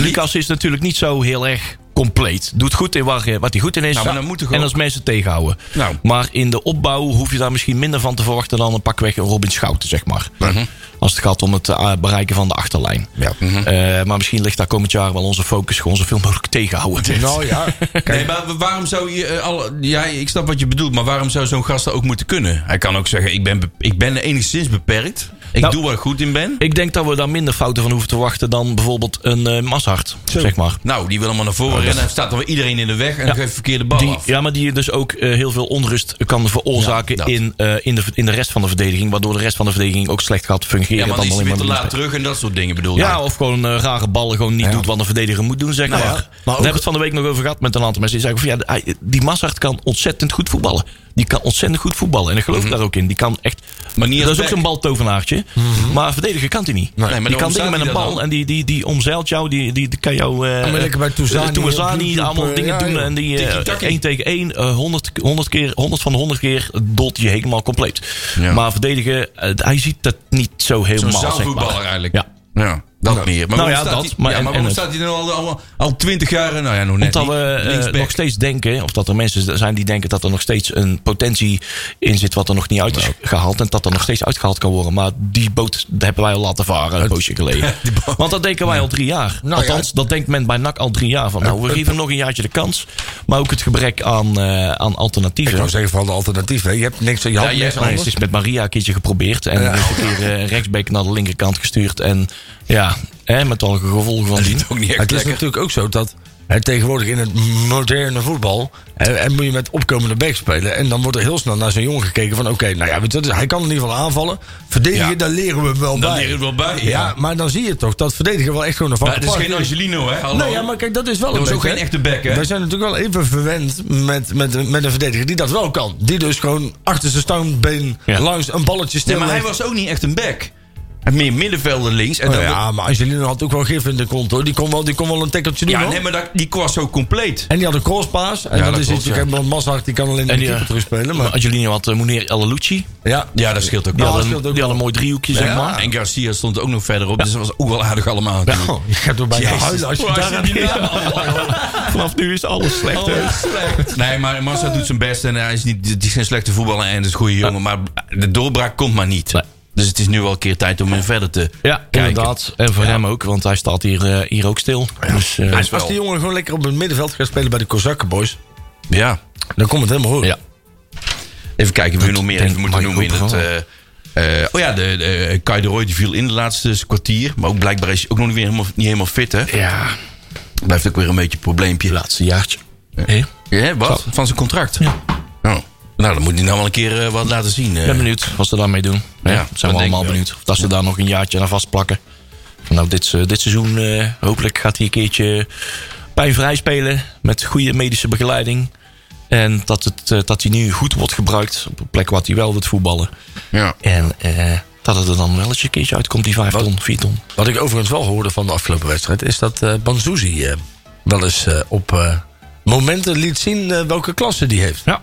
D: Lucas is natuurlijk niet zo heel erg compleet. Doet goed in waar, eh, wat hij goed in is.
B: Nou, maar dan moet hij
D: en
B: gewoon-
D: als mensen tegenhouden.
B: Nou.
D: Maar in de opbouw hoef je daar misschien minder van te verwachten dan een pakweg een Robin Schouten, zeg maar.
B: Mhm.
D: Als het gaat om het eh, bereiken van de achterlijn. Eh, maar misschien ligt daar komend jaar wel onze focus gewoon zoveel mogelijk tegenhouden.
C: Nou ja.
B: Nee, maar waarom zou je... eh, alle, ja, ik snap wat je bedoelt, maar waarom zou zo'n gast dat ook moeten kunnen? Hij kan ook zeggen, ik ben, be- ik ben enigszins beperkt. Ik
D: Nou.
B: doe waar ik goed in ben.
D: Ik denk dat we daar minder fouten van hoeven te wachten dan bijvoorbeeld een eh Mashart, zeg maar.
B: Nou, die wil allemaal naar voren
D: Oh,
B: rennen. Dan staat er weer iedereen in de weg en geeft verkeerde bal
D: Die,
B: af.
D: ja, maar die dus ook eh, heel veel onrust kan veroorzaken
B: Ja, dat.
D: in, eh, in, de, in de rest van de verdediging. Waardoor de rest van de verdediging ook slecht gaat fungeren.
B: Ja, maar
D: dan
B: dan is hij
D: alleen
B: weer te
D: maar
B: laat
D: met-
B: terug en dat soort dingen bedoel
D: Ja, of gewoon eh, rare ballen gewoon niet doet wat een verdediger moet doen, zeg maar.
C: Nou ja,
D: Daar
C: maar
D: hebben
C: ook-
D: we het van de week nog over gehad met een aantal mensen. Die zeggen van, ja, hij- die Mashart kan ontzettend goed voetballen. Die kan ontzettend goed voetballen. En ik
C: Mhm.
D: geloof daar ook in. Die kan echt...
B: Maar niet als
D: dat is ook
B: back.
D: zo'n baltovenaartje.
C: Mhm.
D: Maar verdediger kan hij niet.
B: maar
D: die
B: daarom
D: kan dingen
B: staat
D: met
B: hij
D: een
B: daar
D: bal
B: dan.
D: en die, die, die omzeilt jou. Die, die, die kan jou... eh,
C: maar lekker bij Touzani
D: eh,
C: op YouTube,
D: allemaal
C: eh,
D: dingen
C: ja,
D: doen.
C: joh.
D: En die eh,
B: Tiki-taki.
D: één tegen één, eh, 100, 100, keer, 100 van de 100 keer dolt je helemaal compleet.
B: Ja.
D: Maar verdedigen, eh, hij ziet dat niet zo
B: Zo'n
D: helemaal, zeg
B: zaalvoetballer
D: maar.
B: eigenlijk.
D: Ja.
B: Ja, dat meer. Maar waarom
D: Nou ja,
B: staat
D: dat,
B: hij-
D: maar
B: ja,
D: en-
B: maar waarom
D: en
B: staat hij dan al, al, al 20 jaar... eh, Nou ja, nog net
D: Omdat
B: niet,
D: we eh,
B: linksback.
D: nog steeds denken, of dat er mensen zijn die denken dat er nog steeds een potentie in zit wat er nog niet uit is gehaald. En dat er nog steeds uitgehaald kan worden. Maar die boot hebben wij al laten varen een poosje geleden. Want dat denken wij al drie jaar.
C: Nou ja. Eh,
D: Althans, dat denkt men bij NAC al drie jaar. Van, nou, we geven hem nog een jaartje de kans. Maar ook het gebrek aan, eh, aan
C: Ik
D: alternatieven.
C: zou zeggen vooral de alternatief. Hè. Je hebt niks aan je
B: Ja,
C: hand.
B: jij
C: niks
B: hebt
D: Nee,
C: anders.
D: het is met Maria een keertje geprobeerd. En is een keer eh, rechtsback naar de linkerkant gestuurd. En ja, hè, met alle gevolgen van die.
B: Ziet ook niet echt
C: Het is
B: lekker.
C: natuurlijk ook zo dat hè, tegenwoordig in het moderne voetbal. Hè, en moet je met opkomende back spelen. En dan wordt er heel snel naar zo'n jongen gekeken van: oké, nou ja, weet je wat, hij kan in ieder geval aanvallen. Verdedigen,
B: Ja.
C: daar leren we wel
B: Dan
C: bij.
B: leren we wel bij,
C: Ja.
B: ja.
C: maar dan zie je toch dat verdedigen wel echt gewoon een
B: Maar
C: vaste
B: het is
C: park
B: geen Angelino, hè? Hallo.
C: Nee, ja, maar kijk, dat is wel een
B: was ook
C: beetje,
B: geen echte back, hè?
C: Wij zijn natuurlijk wel even verwend met, met, een- met een verdediger die dat wel kan. Die dus gewoon achter zijn standbeen
D: Ja.
C: langs een balletje
B: Nee,
C: stil
B: maar hij was ook niet echt een back. Hij meer middenvelder links. En
D: Oh,
C: Nou
B: dan
C: ja, maar Angelino had ook wel gif in de kont, hoor. Die kon wel, die kon wel een tackeltje doen,
B: ja
C: hoor.
B: nee, maar dat, die was zo compleet.
C: En die had een crosspaas. En
B: Ja,
C: dat,
B: dat
C: is
B: klopt,
C: iets, ik
B: ja.
C: heb een Mazhar, die kan alleen de
D: En die,
C: keeper
D: eh,
C: terugspelen.
D: Maar
C: Maar,
D: Angelino had eh, Moneer El Alouchi.
C: ja.
B: Ja, dat scheelt ook
C: Ja,
B: wel.
C: dat
D: Die
C: scheelt ook
D: had een mooi driehoekje, zeg maar.
B: En Garcia stond ook nog verderop. Dus dat was ook wel aardig allemaal.
C: Oh, je gaat door bij je
B: Jezus,
C: huilen als je
B: waar
C: daar
B: zit die naam
D: Vanaf nu is alles Oh, slecht. hè?
B: Nee, maar Massa doet zijn best en hij is, niet, het is geen slechte voetballer en het is een goede jongen. Maar de doorbraak komt maar niet.
D: Nee.
B: Dus het is nu al een keer tijd om hem verder te
D: Ja,
B: kijken.
D: inderdaad. En voor hem ook, want hij staat hier, eh, hier ook stil. Dus, eh,
B: Hij is
C: Als die
B: wel-
C: jongen gewoon lekker op het middenveld gaat spelen bij de Kozakkenboys,
B: Ja.
C: dan komt het helemaal goed.
D: ja.
B: Even kijken wie we nog meer
D: denk
B: even moeten
D: ik
B: noemen in
D: ook
B: het...
D: wel.
B: eh, eh, oh ja, de, de, eh, Kai de Roy die viel in de laatste kwartier. Maar ook blijkbaar is hij ook nog niet, weer helemaal, niet helemaal fit, hè?
D: ja,
B: Blijft ook weer een beetje een probleempje.
D: laatste jaartje. Hé,
B: Ja, wat? Van zijn contract?
D: Ja.
B: Oh. Nou, dan moet hij nou wel een keer eh, wat laten zien. eh.
D: Ik ben benieuwd wat ze daarmee doen. Ja,
B: Ja, dat
D: zijn we
B: denk
D: allemaal
B: ik ook.
D: benieuwd. Of dat ze daar nog een jaartje aan vastplakken. Nou, dit, se- dit seizoen eh, hopelijk gaat hij een keertje pijnvrij spelen. Met goede medische begeleiding. En dat, het, eh, dat hij nu goed wordt gebruikt op een plek waar hij wel wilt voetballen.
B: Ja.
D: En eh, dat het er dan wel eens een keertje uitkomt, die 5 ton, 4 ton.
C: Wat ik overigens wel hoorde van de afgelopen wedstrijd, is dat eh Banzuzi eh, wel eens eh, op eh, momenten liet zien eh, welke klasse die heeft.
D: Ja.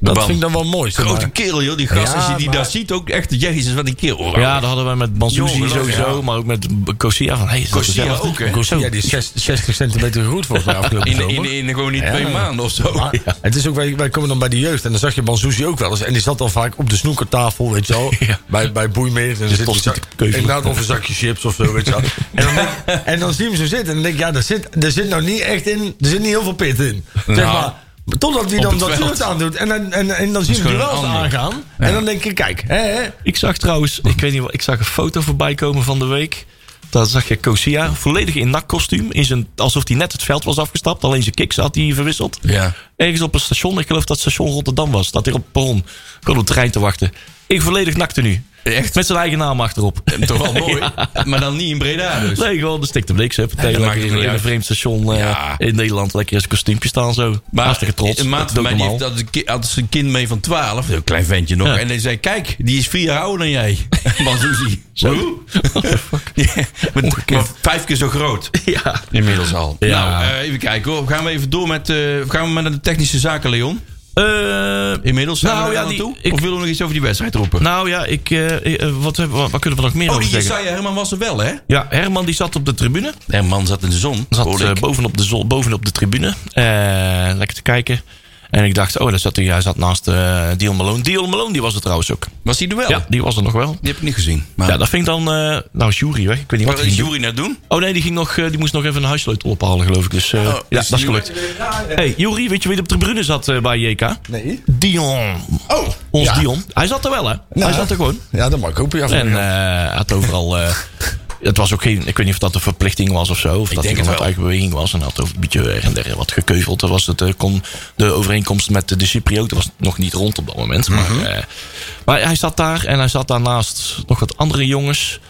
C: Dat
B: Bam.
C: vind ik dan wel mooi. zeg
B: Grote
C: maar.
B: kerel, joh. Die gast,
C: Ja,
B: als je die
C: maar-
B: daar ziet, ook echt... Jezus, wat een kerel.
D: Ja, dat hadden wij met Bansuzi
B: Jongen, dat-
D: sowieso, maar ook met Cosia. Van, hey, is dat
B: Garcia
D: dezelfde?
B: ook, hè?
C: Gosia, die is zes- 60 centimeter gegroeid volgens mij afgelopen
B: In,
C: zomer.
B: in, in gewoon niet
C: Ja.
B: twee maanden of zo.
C: Maar het is ook, wij, wij komen dan bij de jeugd en dan zag je Bansuzi ook wel eens. En die zat dan vaak op de snoekertafel, weet je wel.
D: Ja.
C: Bij, bij Boeimeer. En dan
D: toch
C: zit
D: zit te keuvelen.
C: Inderdaad, of een zakje chips of zo, weet je wel. En dan, denk- en dan zie je hem zo zitten en dan denk ik, ja, daar zit, daar zit nou niet echt in, er zit niet heel veel pit in. Zeg
B: Nou,
C: maar. maar Totdat hij
B: op
C: dan
B: het
C: dat
B: veld.
C: shirt aandoet. En, dan- en, en dan zie je hem
B: gewoon
C: duels
B: een ander.
C: aangaan. En dan denk je, kijk, hè, hè.
D: Ik zag trouwens, ik weet niet wat, ik zag een foto voorbij komen van de week. Daar zag je Cosia volledig in nakkostuum. in zijn- Alsof hij net het veld was afgestapt. Alleen zijn kicks had hij verwisseld.
B: Ja.
D: Ergens op een station, ik geloof dat het station Rotterdam was. Dat hij op het perron, gewoon op de trein te wachten. Ik volledig nakte nu.
B: Echt?
D: Met zijn eigen naam achterop.
B: Toch wel mooi. Maar dan niet in Breda dus.
D: Nee, gewoon de stikte bliks. Hè. Meteen
B: dat maakt
D: lekker
B: het
D: in,
B: niet
D: in een
B: uit.
D: vreemd station eh,
B: Ja.
D: in Nederland. Lekker in zijn kostuumpje staan zo. Maar, Hartstikke trots.
B: Een maat
D: Dat
B: van mij
D: is ook
B: die
D: normaal.
B: heeft, had, een ki- had zijn kind mee van 12. Een klein ventje nog.
D: Ja.
B: En die zei, kijk, die is vier jaar ouder dan jij. Banzuzi. Zo? Ja, maar, maar vijf keer zo groot.
D: Ja.
B: Inmiddels al.
D: Ja.
B: Nou, eh, even kijken hoor. Gaan we even door met, eh, gaan we maar naar de technische zaken, Leon?
D: Eh,
B: Inmiddels zijn
D: Nou,
B: we
D: ja,
B: daar aan
D: die-
B: toe?
D: ik-
B: Of willen we nog iets over die wedstrijd roepen?
D: nou ja, ik, eh, eh, wat, hebben we- wat kunnen we nog meer
B: oh,
D: over
B: die
D: zeggen?
B: Jesaja Herman was er wel, hè?
D: Ja, Herman die zat op de tribune.
B: En man zat in de zon.
D: Zat
B: hoorde
D: eh,
B: ik.
D: bovenop, de zon, bovenop de tribune. Eh, lekker te kijken. En ik dacht, oh, daar zat hij, hij zat naast eh Dion Malone. Dion Malone die was er trouwens ook.
B: was hij er wel?
D: Ja, die was er nog wel.
B: Die heb ik niet gezien. Maar
D: Ja, dat vind ik dan... eh, nou, is Jury weg. Ik weet niet wat
B: wat
D: hij
B: is
D: ging doen.
B: Ah. Eh, Jury net doen?
D: Oh nee, die, ging nog, eh, die moest nog even een huissleutel ophalen, geloof ik. Dus eh, ja,
B: dus
D: dat is
B: die-
D: gelukt. hey, Jury, weet je wie op de tribune zat eh, bij JK?
C: Nee.
D: Dion.
C: Oh,
D: Ons
C: ja.
D: Dion. Hij zat er wel, hè?
C: Nou,
D: Hij zat er gewoon.
C: Ja, dat mag ik hopen. Ja,
D: En eh, had overal. eh, het was ook geen. Ik weet niet of dat een verplichting was of zo. Of dat
B: denk
D: hij
B: het
D: van
B: wel.
D: eigen beweging was. En had over een beetje her en der wat gekeuveld. Dat was het, eh, kon, de overeenkomst met de Cyprioten was nog niet rond op dat moment. Maar,
B: Mhm.
D: eh, maar hij zat daar en hij zat daarnaast nog wat andere jongens.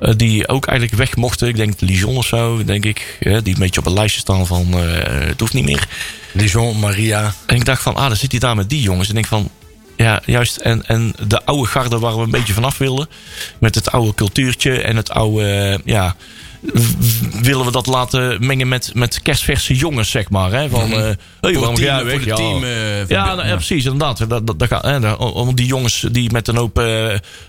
D: eh, die ook eigenlijk weg mochten. Ik denk Lijon of zo, denk ik. eh, die een beetje op een lijstje staan van. eh, het hoeft niet meer.
C: Dijon, Maria.
D: En ik dacht van, ah, dan zit hij daar met die jongens. En ik van, ja, juist. En, en de oude garde waar we een beetje vanaf wilden. Met het oude cultuurtje en het oude, eh, ja... w- Willen we dat laten mengen met, met kerstverse jongens, zeg maar. Hè? Van, eh hey, waarom ga
B: team-
D: jij
B: Mhm. voor
D: weg?
B: de
D: Ja,
B: team, eh, van-
D: ja, nou, ja, precies, inderdaad. Dat, dat, dat gaat, hè, daar- om die jongens die met een hoop eh,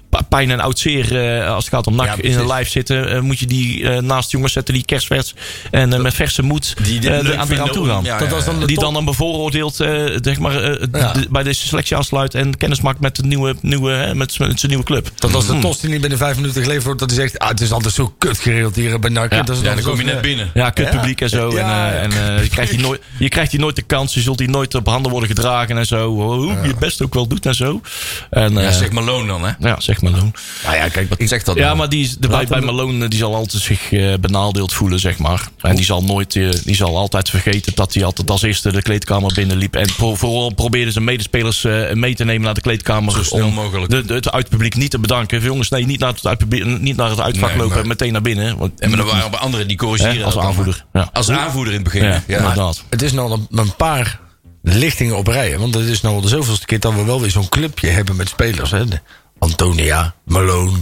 D: pa- pijn en oud zeer... eh, als het gaat om
C: Ja,
D: nak in
C: precies.
D: hun lijf zitten... eh, moet je die eh, naast jongens zetten die kerstvers... en eh, met verse moed
B: Die dit
D: eh,
B: leuk
D: er aan eraan
B: vinden
D: toe
B: om-
D: gaan.
B: ja, ja,
C: Dat was dan de
D: Die
C: top.
D: dan dan bevooroordeeld eh, zeg maar, eh,
C: Ja.
D: de- bij deze selectie aansluit en kennis maakt met, het nieuwe, nieuwe, hè, met, met zijn nieuwe club. Hmm.
C: Dat als de tost die niet binnen vijf minuten geleverd wordt, dat hij zegt: ah, Het is altijd zo kut geregeld hier bij NAC.
D: Ja.
C: dat is
B: Ja, dan
C: altijd
B: kom je
C: zo-
B: net binnen.
D: Ja, kut publiek en zo.
C: Ja.
D: En, eh, en eh, je, krijgt die nooit, je krijgt die nooit de kans. Je zult die nooit op handen worden gedragen en zo. Hoe je het best ook wel doet en zo. En, eh,
B: Ja, zeg Malone dan, hè?
D: ja, zeg maar Loon.
B: Nou ja, kijk, wat zegt dat
D: Ja,
B: nou?
D: maar die is, de, bij, bij Malone eh, die zal altijd zich eh, benadeeld voelen, zeg maar. En die zal, nooit, eh, die zal altijd vergeten dat hij altijd als eerste de kleedkamer binnenliep. En pro- vooral probeerde zijn medespelers eh, mee te nemen naar de kleedkamer. Zo
B: snel mogelijk.
D: De, de- het uitpubliek niet te bedanken. Jongens, nee, niet naar het, uitpubliek, niet naar het uitvak
B: Nee,
D: lopen
B: nee.
D: en meteen naar binnen. Want,
B: En maar er waren op Nou, anderen die corrigeren.
D: Hè, als
B: dat dan.
D: aanvoerder, ja.
B: Als aanvoerder in het begin.
D: ja,
B: Ja,
D: inderdaad.
C: Het is nou een, een paar lichtingen op rijen. Want het is nou al de zoveelste keer dat we wel weer zo'n clubje hebben met spelers. Hè? De Antonia, Malone,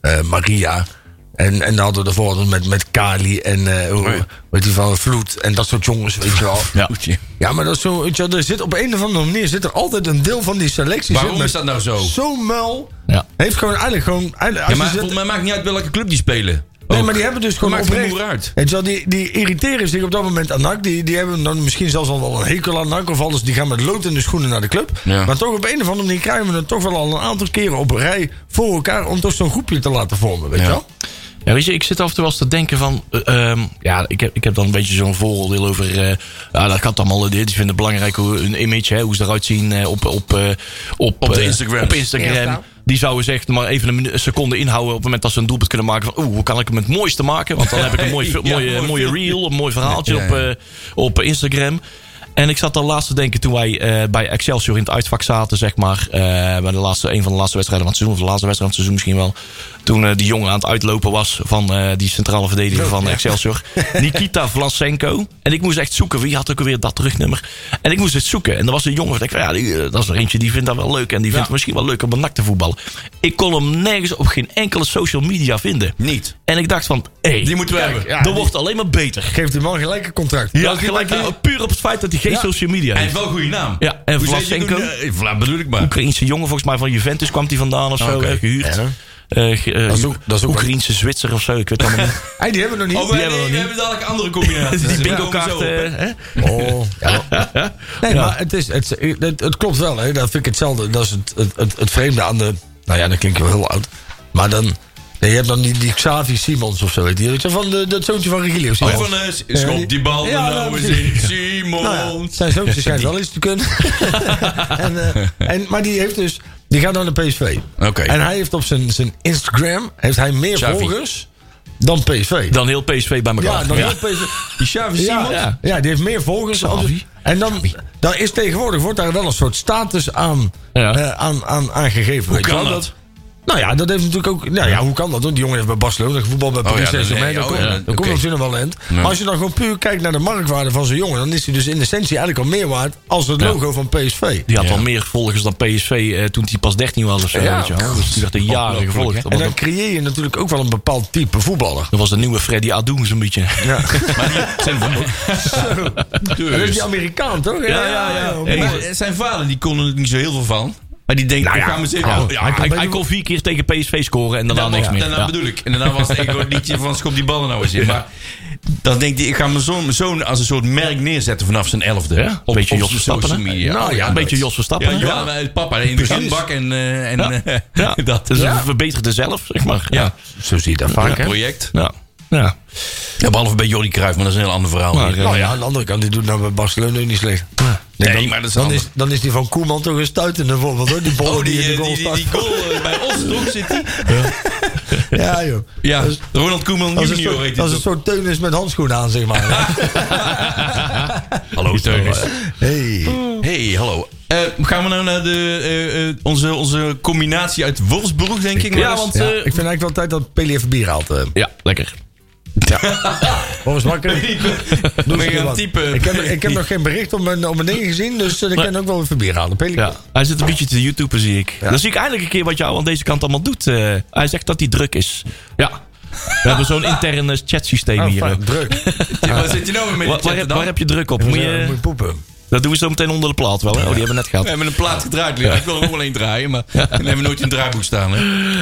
C: eh, Maria. En, en dan hadden we ervoor hadden we met, met Kali en eh
B: Oh
C: hoe- weet je, van Vloed en dat soort jongens, weet je wel.
D: Ja.
C: Ja, maar dat is zo, weet je wel, er zit op een of andere manier zit er altijd een deel van die selectie.
B: Waarom
C: zit met
B: is dat nou zo?
C: Zo'n muil.
D: Ja.
C: Heeft gewoon eigenlijk gewoon... Eigenlijk, als
B: Ja,
C: je
B: maar
C: zit-
B: volgens mij maakt niet uit welke club die spelen.
C: Nee,
B: Ook.
C: maar die hebben dus gewoon
B: maakt
C: oprecht-
B: geen moer uit.
C: Weet je wel, die, die irriteren zich op dat moment aan NAC. Die, die hebben dan misschien zelfs al wel een hekel aan NAC. Of alles, die gaan met lood in de schoenen naar de club.
B: Ja.
C: Maar toch op een of andere manier krijgen we het toch wel al een aantal keren op een rij voor elkaar... om toch zo'n groepje te laten vormen, weet je
B: Ja.
C: wel?
D: Ja, weet je, ik zit af en toe wel eens te denken van... eh, ehm, ja, ik heb, ik heb dan een beetje zo'n vooroordeel over... eh, ja, dat gaat allemaal eh, dit. Ik vind het belangrijk hoe hun image, hè, hoe ze eruit zien eh, op, op, eh, op,
B: Op de
D: eh,
B: Instagrams.
D: Op Instagram.
B: Ja.
D: Die zouden ze echt maar even een minu- een seconde inhouden... op het moment dat ze een doelpunt kunnen maken van... oeh, hoe kan ik hem het mooiste maken? Want dan heb ik een mooi,
B: Ja,
D: mooie,
B: mooi
D: mooie
B: filmpje.
D: reel, een mooi verhaaltje
B: Ja, ja.
D: Op, eh, op Instagram. En ik zat al laatst te denken toen wij eh, bij Excelsior in het uitvak zaten, zeg maar. eh, bij de laatste, een van de laatste wedstrijden van het seizoen, of de laatste wedstrijd van het seizoen misschien wel. Toen eh, die jongen aan het uitlopen was van eh, die centrale verdediger van Excelsior. Nikita Vlasenko. En ik moest echt zoeken, wie had ook alweer dat terugnummer? En ik moest het zoeken. En er was een jongen, ik van, ja, die, eh, dat is er eentje, die vindt dat wel leuk. En die vindt het misschien wel leuk om een nak te voetballen. Ik kon hem nergens op geen enkele social media vinden.
B: Niet.
D: En ik dacht van, hé, hey,
B: Die moeten we hebben.
D: dat wordt alleen maar beter.
C: Geeft die man gelijk een contract.
D: Ja, gelijk, eh, puur op het feit dat hij geen social media
B: Hij
D: heeft.
B: heeft wel een goede naam.
D: Ja, en
B: Hoe zei
D: Vlastenko?
B: je toen, eh, Vla bedoel ik maar.
D: Oekraïense jongen, volgens mij van Juventus kwam hij vandaan of zo,
B: Oké.
D: hè, gehuurd.
C: Ja.
D: Eh, ge- eh,
C: Dat is ook- dat is ook-
D: Oekraïense Zwitser of zo, ik weet het allemaal niet.
C: Hey, die hebben we nog
B: Oh,
C: niet.
B: we,
D: hebben we
B: nee,
D: nog
B: we
D: niet.
B: hebben dadelijk andere combinaties.
D: Die
B: We
D: bingo
B: komen
D: kaart.
B: zo op, eh, hè.
C: Oh, ja. Nee, maar het, is, het, het, het klopt wel. Hè. Dat vind ik hetzelfde. Dat is het, het, het, het vreemde aan de... Nou ja, dat klinkt wel heel oud. Maar dan... nee, je hebt dan die, die Xavi Simons of zo. Weet je. Weet je, Van de, dat zoontje van Regilio
B: Oh,
C: Simons.
B: van, eh, schop die bal
C: Ja,
B: er nou
C: nou,
B: eens in, Simon.
C: Nou ja, zijn zoontje schijnt wel iets te kunnen. en, eh, en, maar die heeft dus... Die gaat naar de PSV.
B: Oké.
C: En hij heeft op zijn, zijn Instagram... Heeft hij meer
B: Xavi.
C: volgers dan PSV.
D: Dan heel PSV bij elkaar.
C: ja, dan
D: Ja.
C: heel PSV.
B: Die Xavi
C: Ja,
B: Simons.
C: ja. ja, die heeft meer volgers. dan-
D: Xavi.
C: En dan, dan is tegenwoordig wordt daar wel een soort status aan,
D: Ja.
C: eh, aan, aan, aan gegeven.
B: Hoe
C: weet je
B: kan
C: wel.
B: dat?
C: Nou ja, dat heeft natuurlijk ook. Nou ja, hoe kan dat? hoor? Die jongen heeft bij Barcelona gevoetbal, bij Paris
B: ja, dat-
C: Saint-Germain.
B: nee,
C: daar
B: oh
C: komt-
B: ja,
C: daar
B: oké.
C: komt natuurlijk wel end. Maar als je dan gewoon puur kijkt naar de marktwaarde van zo'n jongen, dan is hij dus in essentie eigenlijk al meer waard als het logo van PSV.
D: Die had al meer volgers dan PSV eh, toen hij pas 13 was of zo.
C: Ja,
D: weet je wel. Dus die werd er jaren
B: Ongelooflijk,
D: gevolgd.
B: hè?
D: Dat
C: En
D: was,
C: dan creëer je natuurlijk ook wel een bepaald type voetballer.
D: dat was de nieuwe Freddy Adoen zo'n beetje. Nou
C: Ja.
B: Zijn vader.
C: Dat is die
B: dus.
C: Amerikaan, toch?
B: Ja, ja, ja.
C: mooi.
B: Maar zijn vader, die kon er niet zo heel veel van. Maar die denkt,
C: Nou
B: ik
C: ja,
B: ga me zeker...
C: nou, hij
D: Oh, Hij, hij kon vier keer tegen PSV scoren en daarna
B: daarna
D: niks meer.
B: Daarna
D: Ja.
B: bedoel ik. En daarna was het ego het liedje van schop die ballen nou eens in. Maar dan denkt hij, ik ga mijn zoon, mijn zoon als een soort merk neerzetten vanaf zijn elfde.
D: Ja,
B: Op,
D: beetje
B: op zijn
D: Jos Verstappen,
B: social
D: hè?
B: media.
C: Nou
B: Oh,
C: ja,
D: Een beetje
B: nooit.
D: Jos
B: Ja,
D: Verstappen. hè?
B: ja, maar het papa in de
C: Precies.
B: zandbak en, eh, en eh,
D: Ja, dat is een verbeterde zelf, zeg maar. Ja,
C: Zo zie je dat
B: een
C: vaak, hè?
B: project.
D: ja. ja.
B: Ja, behalve bij Jordi Cruijff, maar dat is een heel ander verhaal.
D: Maar,
B: weer.
D: eh,
C: Nou ja, aan de andere kant, die doet nou bij Barcelona niet slecht.
B: nee, maar dat is,
C: eh, Dan
B: anders.
C: is, dan is die van Koeman toch een stuitende voorbeeld hoor. Die bal
B: Oh,
C: die,
B: die,
C: in de
B: eh, die,
C: goal
B: die,
C: staat.
B: die goal eh, bij ons, toch? Zit die?
C: Ja joh.
B: Ja, Ronald Koeman
C: Dat is een
B: junior
C: soort,
B: heet hij
C: dat is een
B: toch?
C: soort teunis met handschoenen aan zeg maar.
B: Hallo, Teunis.
C: Hey.
B: Hey, hallo. Eh, gaan we nou naar de, eh, eh, onze, onze combinatie uit Wolfsburg, denk ik?
D: Ja, want...
C: Ja,
D: eh,
C: ik vind eigenlijk wel tijd dat Peli even bier haalt. eh.
D: ja, lekker.
C: Boris Makker.
B: we gaan typen.
C: Ik heb, ik heb nog geen bericht om mijn, om mijn ding gezien, dus eh, ik kan ook wel even bier halen. Peli.
D: Ja. Hij zit een beetje te YouTuben, zie ik. Dan zie ik eigenlijk een keer wat jou aan deze kant allemaal doet. eh. hij zegt dat hij druk is. Ja. We hebben zo'n intern eh, chatsysteem
C: Oh,
D: hier.
C: fuck,
D: eh.
C: druk.
B: Waar zit je nou weer met die
D: Waar, waar,
B: chatten
D: heb,
B: dan?
D: waar heb je druk op?
C: Moet
D: Moet
C: je,
D: je,
C: moet poepen.
D: dat doen we zo meteen onder de plaat wel. Hè? Oh, die hebben we net gehad.
B: We hebben een plaat gedraaid, Leon. Ik wil er nog wel één draaien, maar dan hebben we nooit in het draaiboek staan. Hè?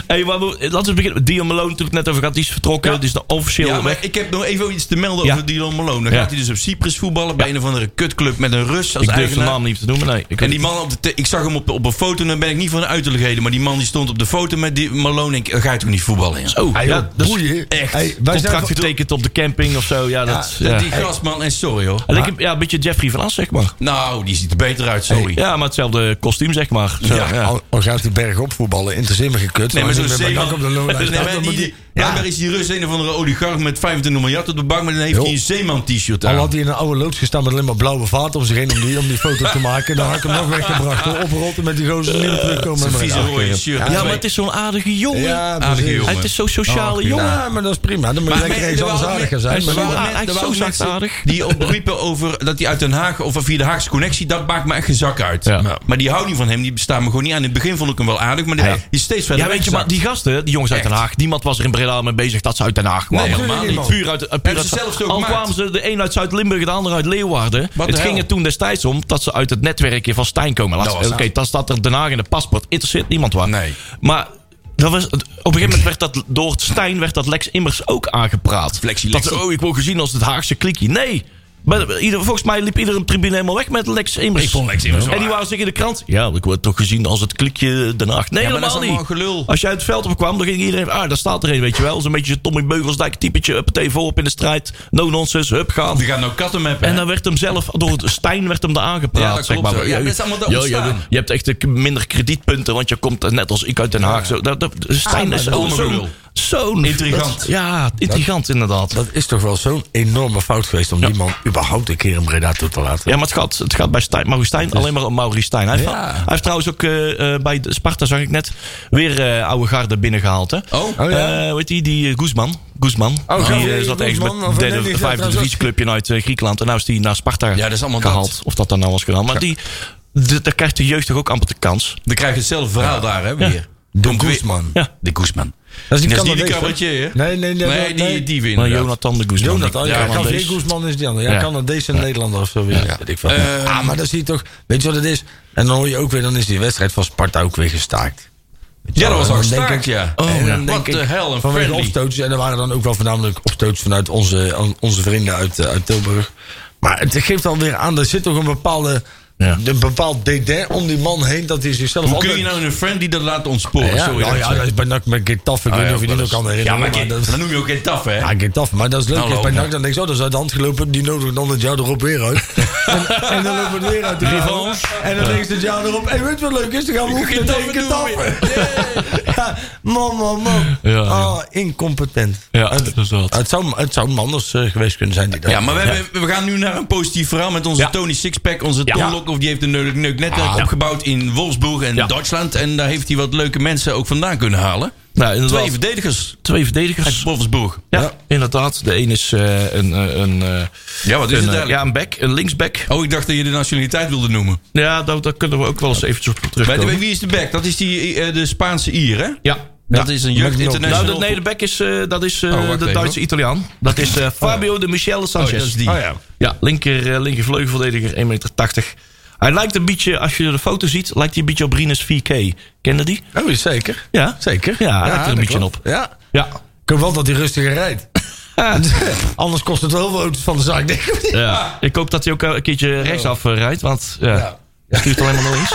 D: Hey, waar we- laten we beginnen. Dion Malone, natuurlijk net over gehad, die is vertrokken. Die is dan officieel
B: Ja, maar
D: weg.
B: ik heb nog even iets te melden
D: Ja.
B: over Dylan Malone. Dan
D: Ja.
B: gaat hij dus op Cyprus voetballen bij een of andere kutclub met een Rus als
D: Ik durf zijn
B: eigenaar.
D: naam niet te noemen. Nee, ik
B: En
D: weet
B: die
D: het.
B: man, op de te- ik zag hem op, op een foto, en dan ben ik niet van de uiterlijkheden, maar die man die stond op de foto met die Malone. Ik, ga je toch niet voetballen? Ja.
D: Oh,
C: Hey,
D: ja,
C: joh,
D: dat is
C: boeien.
B: echt.
C: Hey, wij zijn
D: contract getekend op de camping of zo. Ja, dat, ja.
B: Die gastman, en sorry hoor.
D: Hij lijkt een- ja, een beetje Jeffrey van As, zeg maar.
B: Nou, die ziet er beter uit, sorry.
D: Ja, maar hetzelfde kostuum, zeg maar. Zo,
B: Ja.
D: ja,
C: Al, al gaat die berg op voetballen, interesseert me gekut.
B: Nee, maar zo'n
C: als ik met mijn
B: zeeman...
C: dak op de loonlijst
B: Nee,
C: sta,
B: maar
C: dan
B: die,
C: moet
B: die,
C: die-
B: blijkbaar is die Rus een of andere oligarch met 25 miljard op de bank... maar dan heeft
C: Joh.
B: hij een zeeman-t-shirt
C: Al
B: aan.
C: had hij in een oude loods gestaan met alleen maar blauwe vaten om zich heen om die, om die foto te maken. Dan had ik hem nog weggebracht. hoor. Oprolt en met die gozer niet meer terugkomen.
B: Een
C: Maar-
B: vieze rode shirt.
D: ja, maar het is zo'n aardige jongen.
C: Ja,
B: Aardige
C: precies.
B: jongen.
D: Hij- het is zo'n sociale
C: Ja,
D: jongen.
C: maar dat is prima. Dan moet je
B: Maar
C: lekker
B: men-
C: eens
B: er
C: anders
B: waren
C: aardiger
B: men-
C: zijn.
D: Hij is
C: Maar
B: Er
D: zo-
C: dan-
B: waren
D: Ah, hij
B: men-
D: is
B: er waren
D: zo
B: mensen
D: zachtaardig.
B: Die opriepen over dat hij uit Den Haag of via de Haagse connectie, dat maakt me echt geen zak uit.
D: Ja.
B: Maar- Maar die houding van hem, die bestaat me gewoon niet aan. In het begin vond ik hem wel aardig, maar die, die is steeds verder
D: Ja, weet je, maar
B: weggezakt.
D: die gasten, die jongens uit
B: Echt. Nou,
D: Den Haag, niemand was er in Breda mee bezig dat ze uit Den Haag kwamen.
B: Nee, helemaal
C: niet.
D: Puur uit, eh, puur
B: ze
D: uit
B: zelf zo
D: Al
B: gemaakt.
D: kwamen ze de een uit Zuid-Limburg, de ander uit Leeuwarden.
B: Wat de
D: het ging
B: hel.
D: er toen destijds om dat ze uit het netwerkje van Stijn komen. Laat-
B: Dat was
D: Oké,
B: het.
D: dat staat er Den Haag in het paspoort. Interesseert niemand waar.
B: Nee.
D: Maar dat was, op een gegeven moment werd dat door Stijn werd dat Lex Immers ook aangepraat.
B: Flexie
D: dat,
B: Lex.
D: ze, oh, ik word gezien als het Haagse klikje. Nee. Maar ieder, volgens mij liep iedere tribune helemaal weg met Lex Immers.
B: Ik vond Lex Immers wel
D: En die waren zich in de krant. Ja, ik word toch gezien als het klikje Den Haag. Nee,
B: Ja, maar dat is
D: helemaal niet.
B: allemaal gelul.
D: Als je uit het veld opkwam, dan ging iedereen... Ah, daar staat er een, weet je wel. Zo'n beetje Tommy Beugelsdijk typetje. Uppatee voorop in de strijd. No nonsense, hup, gaan.
B: Die gaan nou katten mappen.
D: En dan werd hem zelf, door Stijn werd hem daar aangepraat.
B: Ja, dat
D: zeg
B: klopt
D: maar.
B: zo. Ja, dat is allemaal daar
D: Ja,
B: ontstaan.
D: je- Je hebt echt eh, minder kredietpunten, want je komt eh, net als ik uit Den Haag. Zo, dat, dat- Stijn
B: maar
D: is
B: Ah, dat
D: ook
B: is
D: zo'n...
B: gelul.
D: Zo'n...
B: Intrigant.
D: dat- ja, intrigant inderdaad.
C: Dat is toch wel zo'n enorme fout geweest om die man überhaupt een keer in Breda toe te laten.
D: Ja, maar het gaat, het gaat bij Stijn, Maurice Stijn
B: Dus-
D: alleen maar om Maurice Stijn. Hij, heeft,
C: Ja.
D: hij heeft trouwens ook eh, eh, bij de Sparta, zag ik net, weer eh, oude garde binnengehaald. Hè?
B: Oh.
C: Oh, ja.
D: Eh, weet die, die eh, Guzman. Guzman.
C: Oh,
D: die
C: Gabriel
D: eh, zat ergens
C: Guzman, of
D: met derde,
C: nee, die
D: vijfde
C: gaat-
D: divisieclubje uit eh, Griekenland. En nou is die naar Sparta
B: Ja, dat is allemaal
D: gehaald.
B: dat.
D: Of dat dan nou was gedaan. Maar die, de- daar krijgt de jeugd toch ook amper de kans.
B: Dan krijg je hetzelfde verhaal daar, hè, weer.
C: De Guzman.
D: Ja.
B: De Guzman.
C: Dat is
B: Dat is niet
C: Canadees,
B: die
C: hè?
B: cabaretier, hè?
C: Nee, nee, nee.
B: Nee, die, die winnen.
D: Maar Jonathan de Guzman.
C: Jonathan,
D: Die-
C: ja,
D: Canadees.
C: Javier Guzman is die andere. Ja,
D: Ja.
C: Canadees en Nederlander of zo. Weer. Weet ik veel.
B: Eh,
C: ah, maar dan zie je toch... Weet je wat het is? En dan hoor je ook weer... Dan is die wedstrijd van Sparta ook weer gestaakt. Weet je
B: Ja,
C: wel,
B: dat was
C: en
B: ook
C: dan denk
B: staakt,
C: ik- oh,
B: ja.
C: en dan denk
B: Wat
C: ik,
B: de hel, een
C: Vanwege de
B: friendly.
C: opstootjes. En er waren dan ook wel voornamelijk opstootjes vanuit onze, on- onze vrienden uit, eh, uit Tilburg. Maar het geeft alweer aan... Er zit toch een bepaalde...
D: Ja.
C: Een bepaald dédain om die man heen dat hij zichzelf
B: Hoe kun
C: altijd-
B: je nou een friendly dat laten ontsporen?
C: ja,
B: Sorry, Oh
C: nou ja, dat is bij NAC met Getafe. Ik weet niet of je die nog kan herinneren.
B: Ja, maar, kijk,
C: dat
B: dat noem je ook geen taf, hè?
C: ja, Getafe. Maar dat is leuk.
B: Nou,
C: is bij
B: loop,
C: NAC dan denk je, zo, dat is uit de hand gelopen. Die nodigen dan het jaar erop weer uit. en, en dan lopen het weer uit de
B: Revanche.
C: hand. En dan denk je het jaar erop. Hé, weet je wat leuk is? Dan gaan we oefenen tegen
B: Getafe doen
C: Getafe. Ja, man, man, man.
D: Ja, ja.
C: Ah, incompetent.
D: Ja, dus-
C: het,
D: dat is wat.
C: het zou, het zou Manders eh, geweest kunnen zijn. Die dat-
B: Ja, maar we, hebben- we gaan nu naar een positief verhaal met onze
D: Ja. Ah,
B: Tony Sixpack. Onze Ton Lokhoff, die heeft een neuk, neuk netwerk eh, opgebouwd in Wolfsburg en
D: Ja.
B: Duitsland. En daar heeft hij wat leuke mensen ook vandaan kunnen halen.
D: Nou, inderdaad.
B: Twee verdedigers
D: Twee
B: uit
D: verdedigers.
B: Wolfsburg.
D: Ja, inderdaad. De een is eh, een... eh, een eh,
B: Ja, wat is het
D: een, eh, ja,
B: eigenlijk?
D: een back, een linksback.
B: Oh, ik dacht dat je de nationaliteit wilde noemen.
D: Ja, daar, daar kunnen we ook wel eens eventjes op
B: Weet
D: terugkomen.
B: weet wie is de back? Dat is die, eh, de Spaanse Ier, hè?
D: Ja.
B: Dat is een jeugd
C: Magnol.
D: Nou,
B: international.
D: de, nee, de back is, eh, dat is eh,
B: Oh, wacht
D: de
B: even,
D: Duitse Italiaan. Dat is eh, Fabio de Michele
B: Oh,
D: Sanchez.
B: dat is die.
D: Ja, linker, eh, linker vleugelverdediger, 1,80 meter. Hij lijkt een beetje, als je de foto ziet, lijkt hij een beetje op Rinus 4K. Kende die?
C: Oh, zeker.
D: Ja.
C: Zeker.
D: Ja, hij lijkt er een
C: dat
D: beetje
C: klopt.
D: op.
C: Ja.
D: Ja.
C: Ik hoop wel dat hij rustiger rijdt. Anders kost het wel heel veel auto's van de zaak, denk ik.
D: ja. Ik hoop dat hij ook eh, een keertje rechtsaf eh, rijdt, want ja, hij stuurt alleen maar naar links.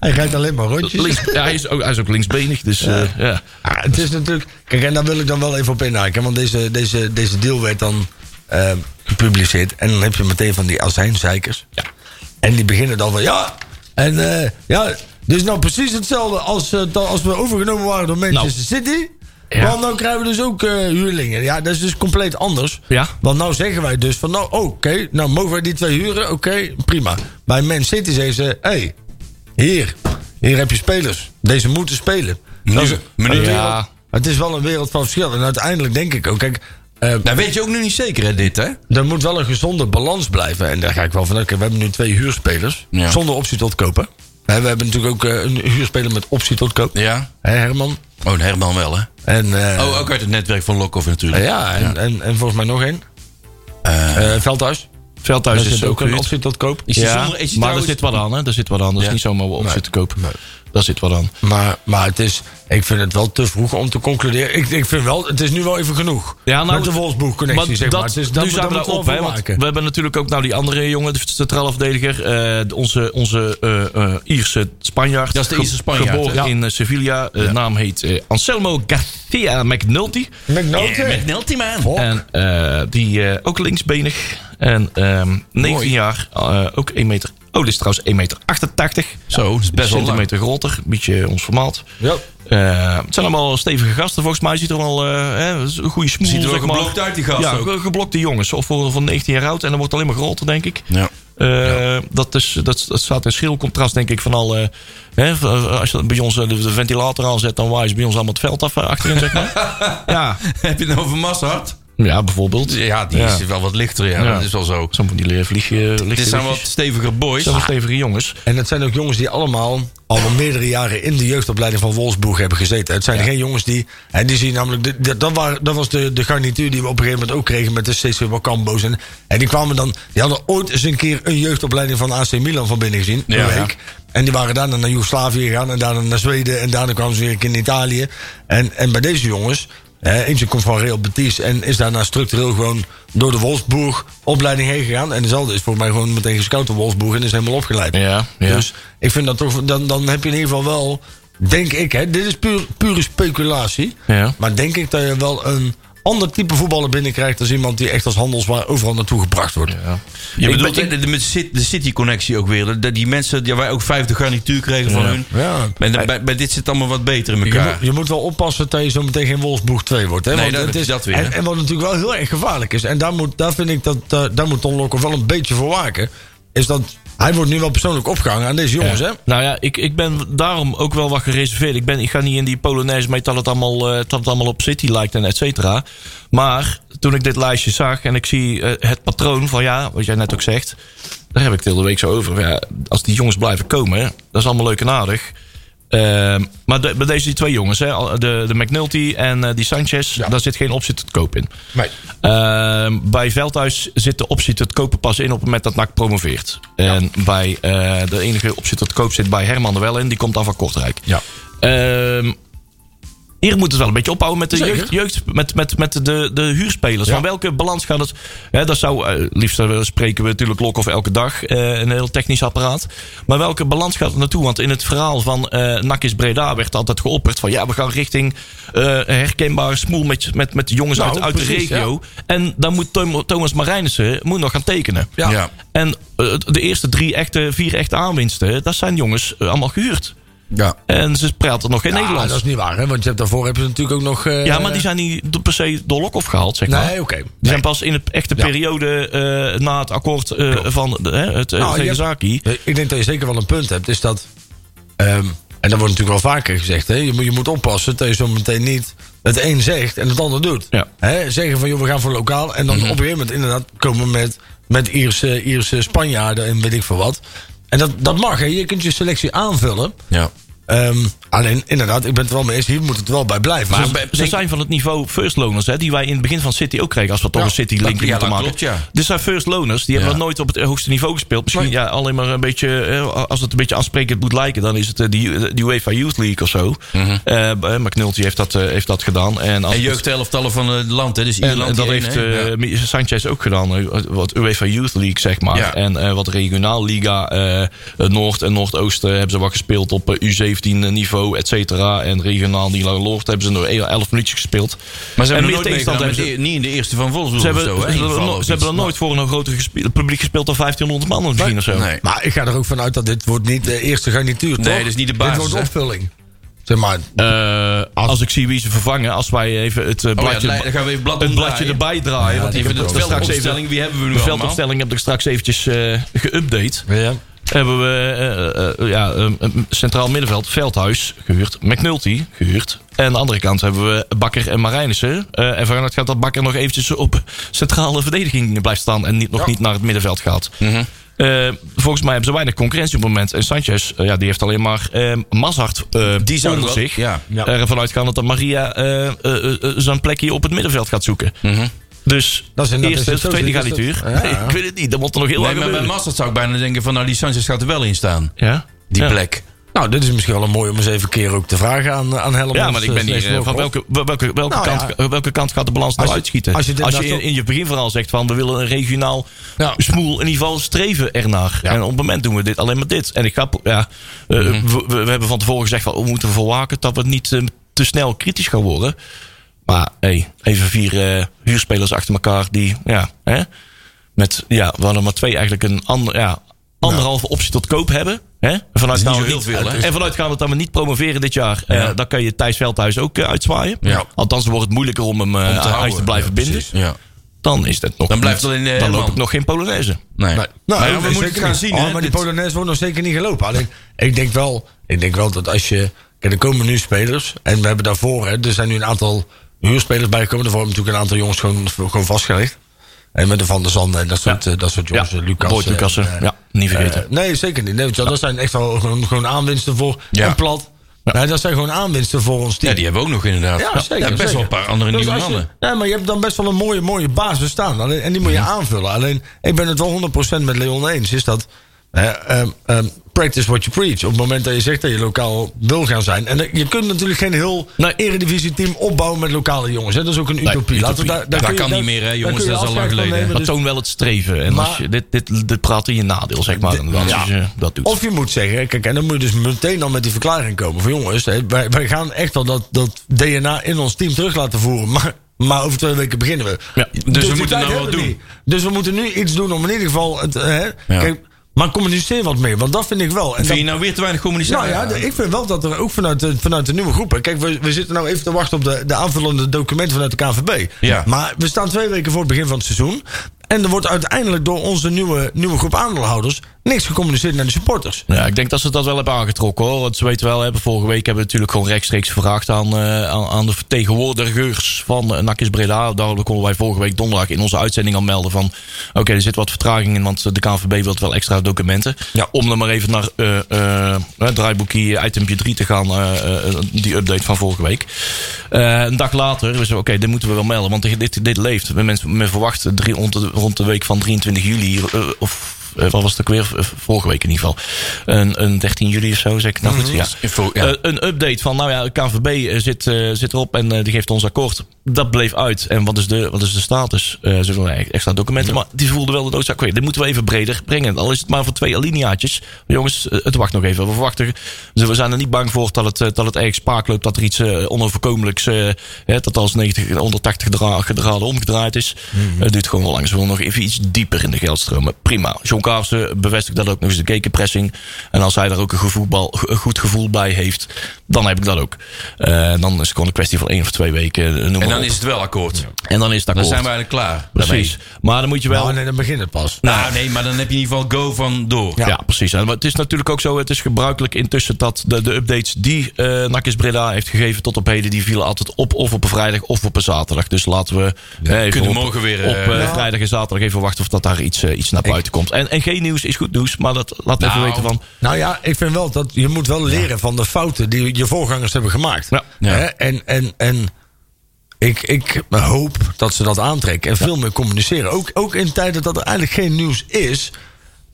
C: Hij rijdt alleen maar rondjes.
D: links ja, hij, is ook, hij is ook linksbenig, dus eh, ja.
C: Ah, het is natuurlijk. Kijk, en daar wil ik dan wel even op inhaken. Want deze, deze, deze deal werd dan eh, gepubliceerd. En dan heb je meteen van die azijnzeikers. Ja. En die beginnen dan van ja. En eh, ja, dit is nou precies hetzelfde als, eh, dan- als we overgenomen waren door Manchester City.
D: Ja.
C: Want nou krijgen we dus ook eh, huurlingen. Ja, dat is dus compleet anders.
D: Ja.
C: Want nou zeggen wij dus van nou, oké, nou mogen wij die twee huren? Oké, prima. Bij Man City zeggen ze, hé, hey, hier, hier heb je spelers. Deze moeten spelen. Dat is-
B: Nu, meneer.
D: Ja.
C: het is wel een wereld van verschil. En uiteindelijk denk ik ook, kijk, eh,
B: Nou, weet je ook nu niet zeker, hè, dit, hè?
C: er moet wel een gezonde balans blijven. En daar ga ik wel vanuit. Kijk, We hebben nu twee huurspelers
B: Ja.
C: zonder optie tot kopen. Hè, We hebben natuurlijk ook eh, een huurspeler met optie tot koop.
B: Ja.
C: Hè, Herman.
B: Oh, Herman wel, hè?
C: En, eh,
B: Oh, ook uit het netwerk van Lokhoff natuurlijk.
C: ja, en, En, en volgens mij nog één. Eh, Veldhuis.
D: Veldhuis
C: Daar
D: is
C: zit ook een
D: gehuurd.
C: optie tot koop.
B: Is die
D: Ja,
B: zonder- is die
D: maar daar
B: trouwens-
D: zit wat aan, hè? Daar zit wat aan. Dat is
B: Ja.
D: niet zomaar op zitten kopen. Daar zit wat aan.
C: Maar, maar het is, ik vind het wel te vroeg om te concluderen. Ik, ik vind wel, het is nu wel even genoeg.
D: Ja, nou,
C: met de Wolfsburg-connectie,
D: Maar
C: zeg
D: dat,
C: maar. Het is,
D: nu zijn we
C: daar
D: daar op,
C: wel
D: hè?
C: van
D: want
C: maken.
D: We hebben natuurlijk ook nou die andere jongen, de centrale verdediger. eh, onze onze eh, eh, Ierse Spanjaard.
B: Dat is de
D: Ge-
B: Ierse Spanjaard,
D: Geboren
B: hè?
D: in eh, Sevilla. Eh, Naam heet eh, Anselmo Garcia McNulty.
C: McNulty.
B: McNulty, man.
C: Fuck.
D: En eh, die eh, ook linksbenig. En ehm 19
B: Mooi.
D: jaar, eh, ook 1 meter. Oh, dit is trouwens 1,88 meter.
B: Zo, dat is best wel lang.
D: centimeter groter, een beetje ons formaat.
C: Ja.
D: Eh, het zijn allemaal stevige gasten. Volgens mij ziet er wel eh, hè, een goede smoel.
B: Ziet er wel
D: zeg maar.
B: geblokt uit, die gast
D: Ja,
B: ook.
D: ge- geblokte jongens. Of voor- van 19 jaar oud. En dan wordt alleen maar groter, denk ik.
B: Ja.
D: Eh, Dat, is, dat, dat staat in schil contrast, denk ik, van al... eh, hè, v- als je bij ons eh, de de ventilator aanzet, dan waait bij ons allemaal het veld af eh, achterin, zeg maar. ja.
B: Heb je het nou over Massard?
D: ja, bijvoorbeeld.
B: Ja, die is wel wat lichter, ja.
D: Ja.
B: Dat is wel zo.
D: Zo van die eh, leer- vliegen.
B: Dit zijn wat steviger boys.
D: Zo stevige jongens.
C: En dat zijn ook jongens die allemaal al wel meerdere jaren in de jeugdopleiding van Wolfsburg hebben gezeten. Het zijn geen jongens die. En die zien namelijk. de- de- Dat, waren, dat was de, de garnituur die we op een gegeven moment ook kregen met de CC Macambo's. En, en die kwamen dan. Die hadden ooit eens een keer een jeugdopleiding van AC Milan van binnen gezien.
B: Ja.
C: een week. En die waren daarna naar Joegoslavië gegaan. En daarna naar Zweden. En daarna kwamen ze weer een keer in Italië. En, en bij deze jongens. eh, eentje komt van Real Betis en is daarna structureel gewoon door de Wolfsburg-opleiding heen gegaan. En dezelfde is volgens mij gewoon meteen gescout door Wolfsburg en is helemaal opgeleid.
D: Ja, ja.
C: Dus ik vind dat toch, dan, dan heb je in ieder geval wel, denk ik, hè, dit is puur, pure speculatie.
D: Ja.
C: Maar denk ik dat je wel een ander type voetballer binnenkrijgt dan iemand die echt als handelswaar overal naartoe gebracht wordt.
D: Ja.
B: Je
C: Ik
B: bedoelt
C: ben-
B: de, de, de- de City-connectie ook weer. Dat die mensen, ja, wij ook vijfde garnituur kregen van hun.
C: Ja.
B: En de- bij, bij dit zit allemaal wat beter in
C: Je,
B: elkaar.
C: moet, je moet wel oppassen dat je zo meteen geen Wolfsburg 2 wordt. Hè?
B: Nee,
C: Want
B: dat-
C: het is,
B: dat weer, hè?
C: En, en wat natuurlijk wel heel erg gevaarlijk is. En daar moet, daar vind ik dat, eh, daar moet Ton Lokhoff wel een beetje voor waken. Is dat hij wordt nu wel persoonlijk opgehangen aan deze jongens. Hè?
D: Nou ja, ik, ik ben daarom ook wel wat gereserveerd. Ik, ben, ik ga niet in die Polonaise mee dat het allemaal, eh, dat het allemaal op City lijkt en et cetera. Maar toen ik dit lijstje zag en ik zie eh, het patroon van ja, wat jij net ook zegt. Daar heb ik de hele week zo over. Ja, als die jongens blijven komen, dat is allemaal leuk en aardig. Ehm, maar de- bij deze twee jongens, hè, al- de, de McNulty en eh, die Sanchez, daar zit geen optie tot koop in.
C: Nee.
D: Ehm, bij Veldhuis zit de optie tot kopen pas in op het moment dat NAC promoveert. En bij, eh, de enige optie tot koop zit bij Herman er wel in, die komt dan van Kortrijk.
C: Ja.
D: Ehm, hier moet het wel een beetje ophouden met de
C: Zeker.
D: jeugd, jeugd met, met, met de, de huurspelers.
C: Ja.
D: Van welke balans gaat het? Hè, dat zou, eh, liefst eh, spreken we natuurlijk Lokhoff elke dag. eh, een heel technisch apparaat. Maar welke balans gaat het naartoe? Want in het verhaal van eh NAC is Breda werd altijd geopperd van... ja, we gaan richting eh, herkenbare smoel met, met, met jongens
C: Nou,
D: uit, uit
C: precies,
D: de regio. En dan moet Tom- Thomas Marijnissen moet nog gaan tekenen.
C: Ja.
B: Ja.
D: En eh, de eerste drie echte, vier echte aanwinsten... dat zijn jongens eh, allemaal gehuurd.
B: Ja.
D: En ze praten nog geen Nederlands.
C: Ah, dat is niet waar, hè? Want je hebt, daarvoor heb je natuurlijk ook nog... eh,
D: Ja, maar die zijn niet per se door Lokhoff gehaald, zeg maar.
C: Nee, oké.
D: Die zijn pas in de echte periode eh, na het akkoord eh, van eh, het
C: Nou, je
D: eh,
C: hebt-
D: Tegenzaki.
C: Nee, Ik denk dat je zeker wel een punt hebt. Is dat. ehm, en dat wordt natuurlijk wel vaker gezegd. Hè? Je, moet, je moet oppassen dat je zo meteen niet het een zegt en het ander doet.
D: Ja.
C: Hè? Zeggen van joh, we gaan voor lokaal. En
B: Mhm.
C: dan op een gegeven moment inderdaad komen met, met Ierse, Ierse Spanjaarden en weet ik veel wat. En dat, dat mag. Hè? Je kunt je selectie aanvullen.
B: ja.
C: Ehm, alleen inderdaad, ik ben het wel mee eens. Hier moet het wel bij blijven.
B: Maar
C: Dus-
B: bij-
D: Ze
B: denk-
D: zijn van het niveau first loners, hè, die wij in het begin van City ook kregen. Als we toch
C: Ja,
D: een City link
B: dat- ja,
D: moeten
B: dat
D: maken.
B: klopt, ja.
D: Dit zijn first loners, die hebben nog nooit op het hoogste niveau gespeeld. Misschien ja, alleen maar een beetje, eh, als het een beetje aansprekend moet lijken, dan is het eh, die, die UEFA Youth League of zo. Eh, eh, McNulty heeft dat, eh, heeft dat gedaan. En, als
B: Mhm. En
D: het-
B: jeugdhelftallen van het land, hè? Dus
D: En,
B: Ierland.
D: dat
B: die
D: heeft
B: ene, hè?
D: eh,
B: Ja.
D: Mi- Sanchez ook gedaan. eh, Wat UEFA Youth League, zeg maar.
B: Ja.
D: En eh, wat regionaal liga. eh, eh, Noord en Noordoosten hebben ze wat gespeeld op eh, U17 niveau, et cetera. En regionaal liga Noord hebben ze nog 11 minuutjes gespeeld.
B: Maar ze
D: en
B: hebben
D: meer
B: er nooit
D: tegenstand
B: meegedaan met
D: hebben
B: de- niet in de eerste van Volkswagen
D: Ze hebben,
B: of zo,
D: ze
B: hè?
D: hebben, er
B: Ingevallen
D: no-
B: of
D: ze hebben er
B: iets. Nou,
D: nooit voor een groter gespe- publiek gespeeld dan 1500 man misschien of zo.
B: Nee.
C: maar ik ga er ook vanuit dat dit wordt niet de eerste garnituur
B: Nee, dit is niet de basis,
C: Dit wordt
B: hè?
C: opvulling. Zeg maar,
D: Eh, als, als ik zie wie ze vervangen, als wij even het eh,
B: Oh ja,
D: bladje,
B: dan gaan we even blad
D: het bladje
B: omdraaien.
D: erbij draaien. want ik
B: Even
D: heb
B: de
D: dat straks even.
B: veldopstelling, wie hebben we nu
D: De
B: allemaal?
D: veldopstelling heb ik straks eventjes eh geüpdate.
C: ja.
D: hebben we eh, eh, ja, eh, centraal middenveld Veldhuis gehuurd. McNulty gehuurd. En aan de andere kant hebben we Bakker en Marijnissen. Eh, en vanuit gaat dat Bakker nog eventjes op centrale verdediging blijft staan. En niet, nog niet naar het middenveld gaat.
B: Mhm.
D: Eh, volgens mij hebben ze weinig concurrentie op het moment. En Sanchez, eh, ja, die heeft alleen maar eh Mazart eh
B: Die zou
D: onder
B: dat-
D: zich.
B: ja.
C: Ja.
D: Ervan uitgaan dat Maria eh, eh, eh, eh, zijn plekje op het middenveld gaat zoeken.
B: Mhm.
D: Dus
C: Dat is inderdaad-
D: eerste
C: is
D: of
C: het zo,
D: tweede
C: is het-
D: garnituur.
C: ja.
D: Nee, ik weet het niet. Dat moet er nog heel
B: Nee,
D: lang
B: maar bij
D: gebeuren.
B: Mastert zou ik bijna denken van... nou, die Sanchez gaat er wel in staan.
D: ja?
B: Die
D: Ja.
B: plek.
C: Nou, dit is misschien wel een mooi om eens even een keer ook te vragen aan, aan Helmond.
D: Ja, maar ik ben niet eh, van welke, wel- welke, welke,
C: Nou
D: kant, welke kant gaat de balans nou
C: Als je-
D: uitschieten. Als
C: als
D: je,
C: je dit nou
D: in,
C: zo-
D: in je begin vooral zegt van we willen een regionaal smoel, in ieder geval streven ernaar. En op het moment doen we dit alleen maar dit. En ik ga, pro- ja, eh,
B: Mhm.
D: we, we- we hebben van tevoren gezegd van oh, we moeten ervoor waken dat we niet eh, te snel kritisch gaan worden. Maar hey, even vier eh, huurspelers achter elkaar die, ja, hè, met, ja, we hadden maar twee eigenlijk een ander, ja, anderhalve optie tot koop hebben. Hè? Vanuit nou
B: Dat is niet
D: gaan we
B: zo heel veel, hè?
D: En vanuit gaan we dat we niet promoveren dit jaar. eh, dan kan je Thijs Veldhuis ook eh, uitzwaaien.
B: Ja.
D: Althans, dan wordt het moeilijker om hem eh, uit te
B: houden.
D: blijven
B: Ja,
D: binden.
B: precies. Ja.
D: Dan is dat nog.
B: Dan blijft
D: niet-
B: alleen, eh,
D: dan loop
B: Herman.
D: ik nog geen Polonaise.
B: Nee.
C: Nee.
B: Maar ja,
C: dat
B: we
C: is
B: moeten het
C: zeker
B: gaan
C: niet.
B: zien,
C: Oh,
B: hè?
C: maar die
B: Dit-
C: Polonaise wordt nog zeker niet gelopen. Alleen, ik denk wel, ik denk wel dat als je... Kijk, er komen nu spelers. En we hebben daarvoor, hè, er zijn nu een aantal huurspelers bijgekomen. Daarvoor hebben natuurlijk een aantal jongens gewoon, gewoon vastgelegd. En met de Van der Zanden en dat soort, eh, dat soort jongens. eh, Lucas.
D: Boyd
C: eh,
D: Lucassen.
C: eh,
D: ja, niet vergeten.
C: Eh, nee, zeker niet. Nee, want ja, Dat zijn echt wel gewoon, gewoon aanwinsten voor
B: Ja.
C: een plat. Nee, dat zijn gewoon aanwinsten voor ons team.
B: Ja, die hebben we ook nog inderdaad.
C: Ja, zeker.
B: best
C: zeker.
B: wel een paar andere
C: Dus
B: nieuwe
C: als je-
B: mannen. Mhm.
C: Ja, maar je hebt dan best wel een mooie, mooie basis staan. Alleen, en die moet je aanvullen. Alleen, ik ben het wel 100% met Leon eens. Is dat hè, ehm, ehm, practice what you preach. Op het moment dat je zegt dat je lokaal wil gaan zijn. En eh, je kunt natuurlijk geen heel
D: Nee.
C: eredivisie-team opbouwen met lokale jongens. Hè. Dat is ook een utopie. Laten we daar, daar
B: Dat
C: kun je-
B: kan
C: daar-
B: niet meer, hè,
C: daar
B: jongens.
C: kun je
B: Dat is al lang
C: afscheid van
B: geleden, hè.
C: nemen.
D: Maar
C: Dus-
D: toon wel het streven. En
C: Maar-
D: als je, dit, dit, dit praat in je nadeel, zeg maar. Dan, als je dat doet.
C: Of je moet zeggen, kijk, en dan moet je dus meteen dan met die verklaring komen. Van jongens, hè, wij, wij gaan echt wel dat, dat DNA in ons team terug laten voeren. Maar, maar over twee weken beginnen we.
D: Ja, dus
B: we
C: die
B: moeten
C: tijd
B: nou wat
C: hebben we
B: doen.
C: niet. Dus we moeten nu iets doen om in ieder geval. Het, eh, hè, kijk, maar communiceer wat meer, want dat vind ik wel. En
B: Vind
C: dat-
B: je nou weer te weinig communicatie?
C: nou ja, de- ik vind wel dat er ook vanuit de, vanuit de nieuwe groepen. Kijk, we, we zitten nou even te wachten op de, de aanvullende documenten vanuit de KVB.
B: Ja.
C: Maar we staan twee weken voor het begin van het seizoen. En er wordt uiteindelijk door onze nieuwe, nieuwe groep aandeelhouders niks gecommuniceerd naar de supporters.
D: Ja, ik denk dat ze dat wel hebben aangetrokken hoor. Want ze weten wel, hebben, vorige week hebben we natuurlijk gewoon rechtstreeks gevraagd aan, eh, aan, aan de vertegenwoordigers van eh, NAC is Breda. Daarom konden wij vorige week donderdag in onze uitzending al melden van oké, er zit wat vertraging in, want de KNVB wil wel extra documenten.
C: Ja.
D: Om dan maar even naar eh eh, het draaiboekje itempje 3 te gaan, eh, eh, die update van vorige week. Eh, een dag later, we zeiden oké, dit moeten we wel melden, want dit, dit, dit leeft. Mensen men verwachten drie, rond, de, rond de week van 23 juli eh, of eh, wat was het ook weer? V- Vorige week in ieder geval. Een, een 13 juli of zo, zeg ik nou goed. Ja.
B: Info, ja.
D: Eh, een update van, nou ja, KNVB zit, eh, zit erop en eh, die geeft ons akkoord. Dat bleef uit. En wat is de, wat is de status? Eh ze willen eigenlijk extra documenten. Maar die voelden wel de noodzaak. Oké, dit moeten we even breder brengen. Al is het maar voor twee alineaatjes. Maar jongens, eh, het wacht nog even. We verwachten, dus we zijn er niet bang voor dat het, eh, dat het erg spaak loopt. Dat er iets eh, onoverkomelijks, eh, hè, dat als 90, 180 dra- graden omgedraaid is.
B: Mhm.
D: Het duurt gewoon wel lang. Ze willen nog even iets dieper in de geldstromen. Prima. John Kaarsen bevestigt dat ook nog eens de gegenpressing. En als hij daar ook een, goed voetbal, een goed gevoel bij heeft, dan heb ik dat ook. Eh, dan is het gewoon een kwestie van één of twee weken. eh, Noem
B: En
D: maar
B: dan
D: op.
B: is het wel akkoord.
D: en dan is het
B: Dan
D: akkoord.
B: zijn we eigenlijk klaar.
D: Precies. Maar dan moet je wel...
C: Nou, nee, dan begint het pas.
B: Nou, nee, maar dan heb je in ieder geval go van door.
D: Ja. precies. En het is natuurlijk ook zo, het is gebruikelijk intussen dat de, de updates die eh Nakis Breda heeft gegeven tot op heden, die vielen altijd op of op een vrijdag of op een zaterdag. Dus laten we eh, even
B: kunnen
D: op,
B: morgen weer,
D: op
B: eh,
D: eh, vrijdag en zaterdag even wachten of dat daar iets, eh, iets naar buiten komt. En, en geen nieuws is goed nieuws, maar dat laat
B: Nou.
D: even weten van.
C: Nou ja, ik vind wel dat je moet wel leren van de fouten die je voorgangers hebben gemaakt.
D: Ja.
B: Ja.
C: Hè? En, en, en ik, ik hoop dat ze dat aantrekken en veel meer communiceren. Ook, ook in tijden dat er eigenlijk geen nieuws is,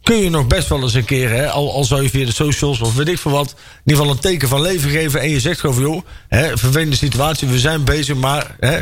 C: kun je nog best wel eens een keer, hè, al, al zou je via de socials of weet ik veel wat, in ieder geval een teken van leven geven. En je zegt gewoon van joh, hè, vervelende situatie, we zijn bezig, maar hè,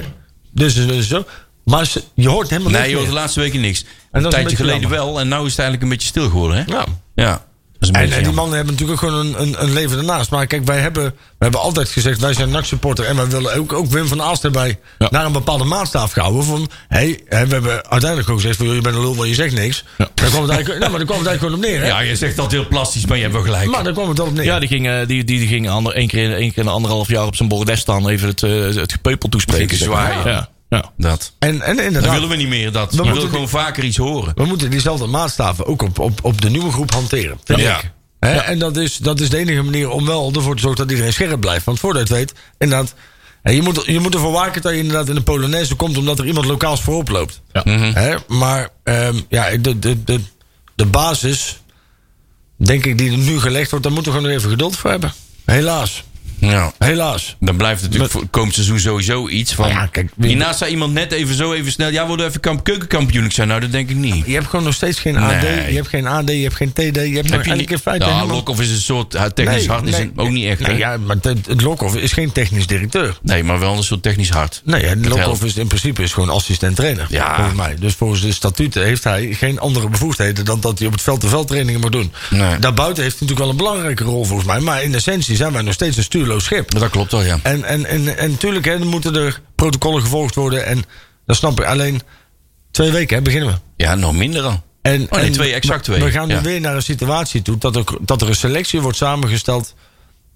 C: dus en dus en zo. Maar ze- je hoort helemaal
B: Nee,
C: niks
B: joh, de
C: meer.
B: laatste weken niks.
C: dat is
B: Een
C: een
B: tijdje
C: beetje
B: geleden
C: jammer.
B: wel en nu is het eigenlijk een beetje stil geworden, hè?
C: Ja.
B: Ja. Dat is een
C: En,
B: beetje
C: en die
B: jammer.
C: mannen hebben natuurlijk ook gewoon een, een, een leven ernaast. Maar kijk, wij hebben, wij hebben altijd gezegd, wij zijn NAC-supporter. En wij willen ook, ook Wim van Aalst erbij
D: Ja.
C: naar een bepaalde maatstaf houden. Van, hey, hè, we hebben uiteindelijk ook gezegd, van, joh, je bent een lul, want je zegt niks.
D: Ja.
C: Dan kwam het eigenlijk, nou, maar daar kwam het eigenlijk gewoon op neer. Hè?
B: Ja, je Ah, zegt dat heel plastisch, maar je hebt wel gelijk.
C: Maar daar kwam het wel op neer.
D: Ja, die ging, eh, die, die, die ging ander, één, keer, in- één keer in de anderhalf jaar op zijn bordes staan, even het, eh, het gepeupel toespreken.
B: Zeker
D: zeg maar.
B: zwaaien.
D: Ja. Ja.
B: dat.
C: en, en
B: Dat
C: inderdaad,
B: willen we niet meer, dat. We
C: moeten
B: willen gewoon vaker iets horen.
C: we moeten diezelfde maatstaven ook op, op, op de nieuwe groep hanteren. vind
B: Ja.
C: ik. Hè, En dat is, dat is de enige manier om wel ervoor te zorgen dat iedereen scherp blijft. Want voordat je het weet, inderdaad, hè, je moet, je moet ervoor waken dat je inderdaad in de Polonaise komt omdat er iemand lokaals voorop loopt.
D: Ja.
B: Mhm.
C: Hè, maar ehm, ja, de, de, de, de basis, denk ik, die er nu gelegd wordt, daar moeten we gewoon nog even geduld voor hebben. Helaas.
B: Ja.
C: Helaas.
B: Dan blijft natuurlijk voor het komend seizoen sowieso iets van...
C: Nou ja, kijk, wie-
B: hiernaast zei iemand net even zo even snel... Ja, worden we even kamp, keukenkampioen? Ik zei, nou, dat denk ik niet.
C: Je hebt gewoon nog steeds geen AD,
B: Nee.
C: je hebt geen AD, je hebt geen TD, je hebt nog
B: Heb je
C: eigenlijk
B: niet...
C: in feite
B: Ja,
C: helemaal-
B: Lokhoff is een soort... ja, Technisch
C: Nee,
B: hart is
C: nee,
B: een- ook niet echt,
C: nee,
B: hè?
C: ja, maar het, het Lokhoff is geen technisch directeur.
B: Nee, maar wel een soort technisch hart.
C: Nee, ja, Lokhoff
B: helpt.
C: is in principe is gewoon assistent trainer.
B: Ja.
C: Volgens mij. Dus volgens de statuten heeft hij geen andere bevoegdheden dan dat hij op het veld de veldtrainingen mag doen.
B: Nee.
C: Daarbuiten heeft hij natuurlijk wel een belangrijke rol volgens mij. Maar in essentie zijn wij nog steeds een stuurloos schip.
B: Dat klopt wel, ja.
C: En, en, en, en natuurlijk hè, dan moeten er protocollen gevolgd worden. En dat snap ik. Alleen twee weken hè, beginnen we.
B: Ja, nog minder dan.
C: En,
B: oh nee,
C: en
B: twee, exact
C: we-
B: twee.
C: We gaan nu
B: Ja.
C: weer naar een situatie toe dat er, dat er een selectie wordt samengesteld.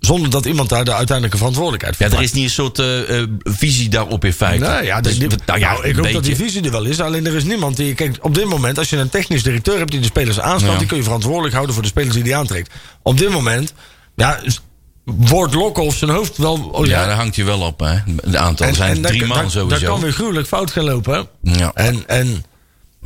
C: zonder dat iemand daar de uiteindelijke verantwoordelijkheid voor
B: Ja, er
C: draagt.
B: is niet een soort eh, eh, visie daarop in feite.
C: Nou ja,
B: Dus
C: die- die-
B: dat- nou ja,
C: nou, ik
B: een
C: hoop dat die
B: beetje.
C: visie er wel is. Alleen er is niemand die. Kijk, op dit moment, als je een technisch directeur hebt die de spelers aanstaat,
B: Ja.
C: die kun je verantwoordelijk houden voor de spelers die die aantrekt. Op dit moment, ja, s- wordt Lokhoff zijn hoofd wel. oh
B: Ja, daar hangt je wel op, hè. Een aantal. Er zijn
C: daar-
B: drie man
C: daar-
B: sowieso.
C: Daar kan weer gruwelijk fout gaan lopen. hè?
B: Ja.
C: En, en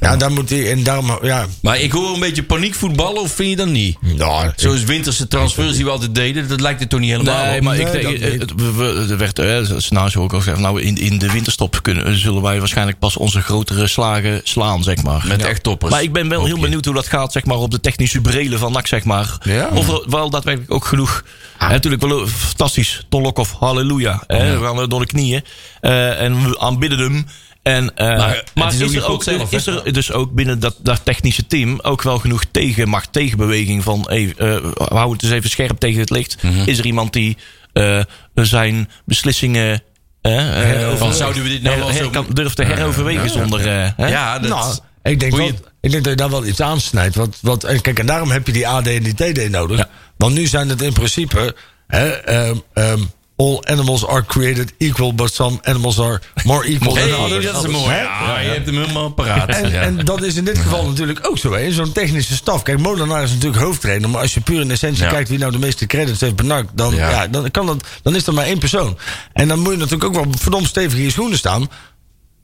C: ja, daar moet hij. En daarom, ja.
B: Maar ik hoor een beetje paniekvoetballen, of vind je dat niet?
C: Nou,
B: Zoals winterse transfers die we altijd deden, dat lijkt het toch niet helemaal
D: Nee,
B: op.
D: maar
C: Nee,
D: ik denk,
C: dat niet.
D: het- we, we- er werd, eh, scenario's ook al gezegd, nou in, in de winterstop kunnen, zullen wij waarschijnlijk pas onze grotere slagen slaan, zeg maar.
B: Met echt toppers.
D: Maar ik ben wel
B: Hoop
D: heel
B: je.
D: benieuwd hoe dat gaat, zeg maar, op de technische brelen van NAC, zeg maar.
C: Ja.
D: Of er wel daadwerkelijk ook genoeg,
B: Ah.
D: hè, natuurlijk wel eh, fantastisch, Ton Lokhoff, halleluja. hè, We gaan eh, door de knieën eh, en we aanbidden hem. En, eh, maar
B: het is ook
D: is,
B: niet
D: er
B: goed
D: ook,
B: zelf, hè?
D: is er dus ook binnen dat, dat technische team ook wel genoeg tegenmacht, tegenbeweging van hey, eh, hou het eens even scherp tegen het licht.
B: Mhm.
D: Is er iemand die eh, zijn beslissingen eh, eh,
B: Van, zouden we dit nou
D: her-
B: wel
D: her-
B: zo-
D: kan- durft te heroverwegen zonder... eh, hè?
B: Ja, dat...
C: nou, ik denk,
B: Hoe
C: wel,
B: je-
C: ik denk dat je daar wel iets aansnijdt. Wat, wat, en kijk, en daarom heb je die AD en die TD nodig. Want nu zijn het in principe hè, ehm, ehm, All animals are created equal, but some animals are more equal
B: Hey,
C: than others.
B: dat is mooi.
C: Hè?
B: Ja, je hebt hem helemaal paraat.
C: En,
B: ja.
C: en dat is in dit geval natuurlijk ook zo. hè. Zo'n technische staf. Kijk, Molenaar is natuurlijk hoofdtrainer. Maar als je puur in essentie
B: Ja.
C: kijkt wie nou de meeste credits heeft benakt. Dan,
B: Ja.
C: ja. dan, kan dat, dan is er maar één persoon. En dan moet je natuurlijk ook wel verdomd stevig in je schoenen staan.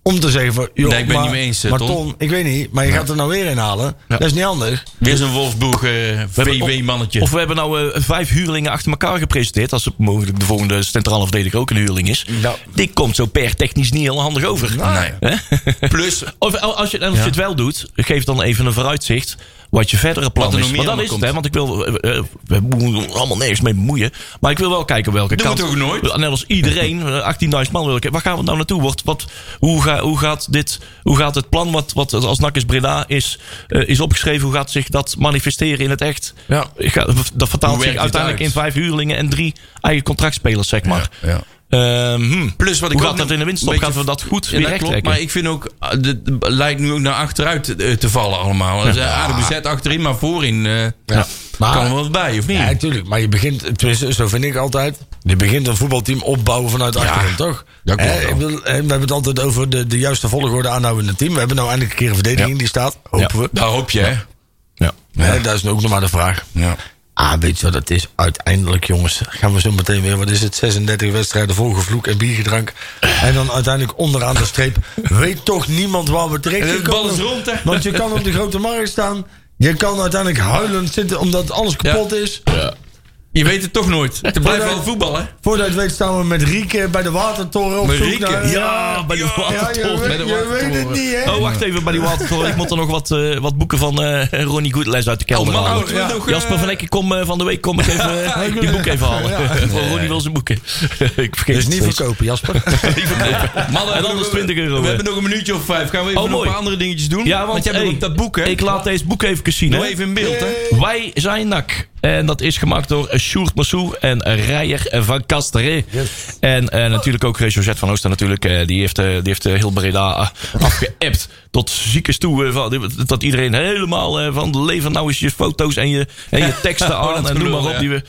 C: Om te zeggen van, joh,
B: Nee, ik ben
C: maar,
B: niet mee eens, eh,
C: maar
B: Ton.
C: Ton, ik weet niet. Maar je gaat er nou weer in halen. Dat is niet handig.
B: Weer zo'n Wolfsburg eh, VW-mannetje.
D: Of we hebben nou eh, vijf huurlingen achter elkaar gepresenteerd. Als het mogelijk de volgende centrale verdediger ook een huurling is.
C: Nou.
D: Die komt zo per technisch niet heel handig over.
B: Ah, Nee. Plus,
D: Of al- als je, en als je het wel doet, geef dan even een vooruitzicht. Wat je verdere plan
B: Wat er nog
D: is.
B: meer
D: Want dat
B: allemaal
D: is het,
B: komt.
D: hè? Want ik wil. eh, eh, we moeten er allemaal nergens mee bemoeien. Maar ik wil wel kijken welke
B: Doen we
D: kant.
B: het ook nooit?
D: Net als iedereen, eh, 18.000 man wil ik. Waar gaan we nou naartoe? Wordt, wat, hoe, ga, hoe, gaat dit, hoe gaat het plan wat, wat als NAC Breda is, eh, is opgeschreven, hoe gaat zich dat manifesteren in het echt?
B: Ja.
D: Ik ga- dat vertaalt
B: Hoe werkt
D: zich
B: het
D: uiteindelijk
B: uit?
D: in vijf huurlingen en drie eigen contractspelers, zeg maar.
B: Ja, ja.
D: Ehm, hm.
B: Plus wat ik
D: Hoe
B: ook
D: gaat dat
B: nog
D: in de winst op?
B: een beetje-
D: Gaan we dat goed
B: Ja,
D: weer
B: dat klopt,
D: rechttrekken?
B: maar ik vind ook, eh, dit lijkt nu ook naar achteruit eh, te vallen allemaal. Dus, eh, aardig bezet achterin, maar voorin eh,
C: Maar-
B: kan er wel wat bij, of niet?
C: Ja, natuurlijk. Maar je begint, tenminste, zo vind ik altijd. Je begint een voetbalteam opbouwen vanuit achterin, toch?
B: dat klopt
C: Hè,
B: wel.
C: ik bedoel, hè, we hebben het altijd over de, de juiste volgorde aanhouden in het team. We hebben nou eindelijk een keer een verdediging die staat. Hopen we.
B: Daar hoop je, hè?
C: Hè, dat is nu ook nog maar de vraag.
B: Ja.
C: Ah, weet je wat het is? Uiteindelijk, jongens, gaan we zo meteen weer. Wat is het? 36 wedstrijden vol gevloek en biergedrank. En dan uiteindelijk onderaan de streep. Weet toch niemand waar we terecht
B: En de
C: zijn gekomen?
B: bal is rond, hè?
C: Want je kan op de grote markt staan. Je kan uiteindelijk huilend zitten omdat alles kapot is.
B: Je weet het toch nooit. Het blijft wel voetballen.
C: Voordat je het weet staan we met Rieke bij de Watertoren op
B: Met
C: zoek
B: Rieke?
C: naar...
D: Ja, bij de
C: Ja, je,
D: Watertoren.
C: weet,
B: Bij de
C: je weet het
B: Watertoren.
C: niet, hè?
D: Oh, wacht even, bij die watertoren. Ik moet er nog wat, eh, wat boeken van eh, Ronnie Goodles uit de kelder
B: Oh, man,
D: halen.
B: moeten we nog, eh,
D: Jasper van Ekke, kom eh, van de week kom ik even eh, die boeken even halen. Voor Ronnie wil zijn boeken. ik vergeet
C: Dus
D: het
C: niet
D: steeds.
C: verkopen, Jasper.
D: Niet verkopen.
B: Mannen,
D: en
B: we-
D: anders 20
B: eh, We,
D: euro.
B: hebben nog een minuutje of vijf. Gaan we even nog
D: Oh,
B: een
D: mooi.
B: paar andere dingetjes doen?
D: ja, want,
B: jij hebt
D: hey,
B: ook dat boek, hè?
D: Ik laat deze boek even zien.
B: Doe
D: hè.
B: even in beeld, hè?
D: Wij zijn NAC. En dat is gemaakt door Sjoerd Massoer en Rijer van Kasteren. En eh, natuurlijk ook eh, Josette van Oosten natuurlijk. eh, die, heeft, eh, die heeft eh, heel Breda eh, afgeappt. Tot ziekes toe. eh, van, dat iedereen helemaal eh, van lever nou eens je foto's en je, en je teksten
B: Oh, dat
D: aan. En noem
B: gelul,
D: maar op.
B: ja.
D: Die, we,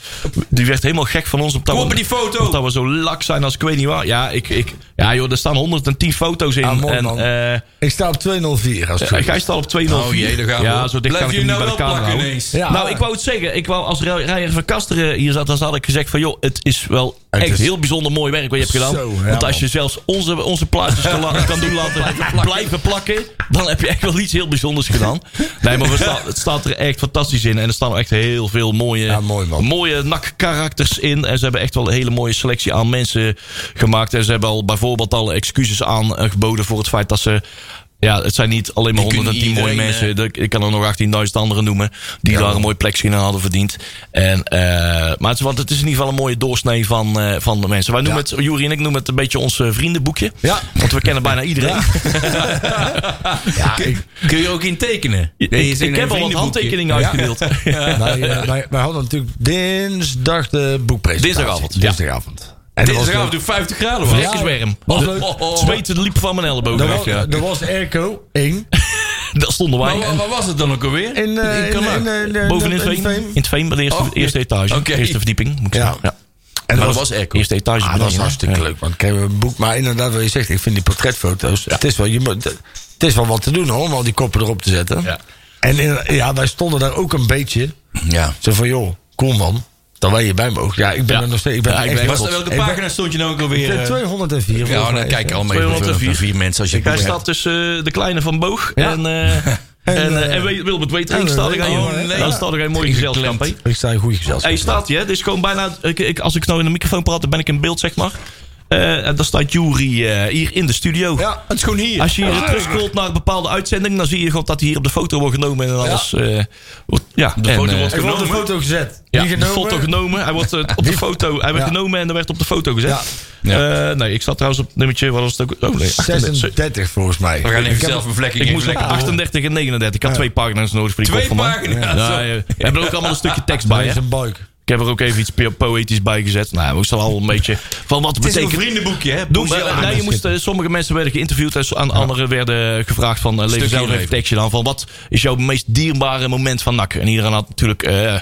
D: die werd helemaal gek van ons. Op dat
B: Kom op
D: we-
B: met die foto.
D: op Dat we zo lak zijn als ik weet niet waar. Ja, ik, ik, ja joh, er staan 110 foto's in.
C: Ah, mooi,
D: en,
C: man.
D: eh,
C: Ik sta op 204 als het goed
D: ja,
C: is.
D: Gij staat op 2-0.
B: Oh jee, daar gaan we.
D: Ja, zo dicht
B: Blijf
D: kan ik
B: je
D: hem niet
B: nou
D: bij
B: wel
D: de camera
B: plakken
D: houden.
B: ineens?
C: Ja.
D: Nou, ik wou het zeggen. Ik wou als Rij- Rijer van Kasteren hier zat, dan had ik gezegd van... joh, het is wel echt
C: is-
D: heel bijzonder mooi werk wat je hebt gedaan.
C: Zo, ja,
D: Want als
C: man.
D: je zelfs onze, onze plaatjes kan, la- kan doen laten blijven, plakken... dan heb je echt wel iets heel bijzonders gedaan. Nee, maar we sta- het staat er echt fantastisch in. En er staan ook echt heel veel mooie,
C: Ja, mooi, man.
D: mooie nakkarakters in. En ze hebben echt wel een hele mooie selectie aan mensen gemaakt. En ze hebben al bijvoorbeeld al excuses aangeboden voor het feit dat ze... Ja, het zijn niet alleen maar
B: Die kunnen
D: 110 mooie
B: iedereen,
D: mensen. Eh, Dat- Ik kan er nog 18.000 anderen noemen. Die daar een mooi plekje in hadden verdiend. En, eh, maar het is, want het is in ieder geval een mooie doorsnee van, eh, van de mensen. Wij noemen het, Juri en ik noemen het een beetje ons eh, vriendenboekje.
C: Ja.
D: Want we kennen bijna iedereen.
C: Ja, ik-
B: Kun je ook in tekenen?
D: Ik,
B: Nee, je
D: ik
B: zegt een
D: heb al wat
B: vriendenboekje. Oh,
D: handtekeningen uitgedeeld.
C: Wij, eh, wij, wij hadden natuurlijk dinsdag de boekpresentatie.
D: Dinsdagavond, ja.
C: Dinsdagavond. En dat was
B: Dinsdagavond
C: leuk.
B: doe 50 graden, hoor.
D: Rekkerswerm.
C: was
D: De-
C: leuk.
B: Oh, oh. Nou,
D: Het Zweet het liep van mijn elleboog.
C: Er
D: af,
C: was,
D: ja.
C: er was airco 1
D: Daar stonden wij.
B: Maar wa- wat was het dan ook alweer?
C: in, eh, in, in,
B: Kalmar.
C: in, in, in-
D: Bovenin
C: in-
D: het Veem. In het Veem, bij de eerste,
B: Oh,
D: eerste etage.
B: oké.
D: Eerste verdieping, moet ik
C: Ja.
D: zeggen. Ja.
C: En
B: Maar
C: dat
B: dat
C: was
B: was airco.
D: Eerste etage.
C: Ah, dat
D: beneden,
C: is
D: hè?
C: hartstikke
D: Ja.
C: leuk, want ik heb een boek. Maar inderdaad, wat je zegt, ik vind die portretfoto's. Het, is wel, je, moet- het is wel wat te doen hoor, om al die koppen erop te zetten.
D: Ja.
C: En in- ja, wij stonden daar ook een beetje.
B: Ja. nou,
C: Zo van, joh, cool man. Dat wij hierbij mogen. Ja, ik ben
D: Ja.
C: er nog steeds. Ik ben
D: Ja,
C: er
D: ik
C: echt
D: ben-
B: Was,
C: trots.
B: welke
C: Ik ben-
B: pagina stond je nou ook alweer?
C: ik ben
B: eh?
C: 204. volgens
B: Ja,
C: mij.
B: dan kijk je allemaal even
D: 204.
B: vier mensen als je het
D: Hij
B: boek
D: staat tussen eh, de kleine van Boog en, eh en, eh, en Wil- Wilbert Weetering.
C: en
D: Staat er
C: Wilbert,
D: geen,
C: oh,
D: jongen.
B: nee.
D: Daar staat er geen mooi gezelschap hè?
C: Ik sta in goede gezelschap.
D: Hij staat hier, hè? Dit is gewoon bijna. Ik, ik- als ik nou in de microfoon praat, dan ben ik in beeld, zeg maar. Eh, en daar staat Jury eh, hier in de studio.
C: Ja,
B: Het is gewoon hier.
D: Als je hier terug scrolt naar een bepaalde uitzending, dan zie je gewoon dat hij hier op de foto wordt genomen en alles. eh, wordt- ja,
B: foto
D: de
B: Oh, wordt
C: ik heb op de
B: genomen.
C: foto gezet.
D: ja,
C: Niet
D: de foto genomen. Hij wordt eh, op de foto. Hij werd
C: Ja.
D: genomen en er werd op de foto gezet.
B: Ja.
D: Eh, nee, ik zat trouwens op nummertje. Wat was het ook? Oh nee, 38.
C: 36 volgens mij.
B: We gaan even
C: Ik heb-
B: zelf een vlekking
D: Ik
B: in
D: moest ook
B: vlekken.
D: 38 en 39. Ik had twee pagina's nodig voor die
B: Ah. Twee
D: kop van mij.
B: pagina's,
D: Ja,
B: zo.
D: ja. We hebben er ook allemaal een stukje
B: Ah,
D: tekst bij.
C: Hij
D: Hè?
C: is een buik.
D: Ik heb er ook even iets po- poëtisch bij gezet. Nou, we moesten al een beetje van wat
B: Het is een
D: betekent.
B: vriendenboekje, hè?
D: Doen
B: Poesie
D: we-
B: aan.
D: nee, je moest, eh, sommige mensen werden geïnterviewd en so- aan anderen werden gevraagd van eh, lever
B: Stukje
D: zelf even
B: inleveren.
D: tekstje dan van wat is jouw meest dierbare moment van NAC? En iedereen had natuurlijk eh,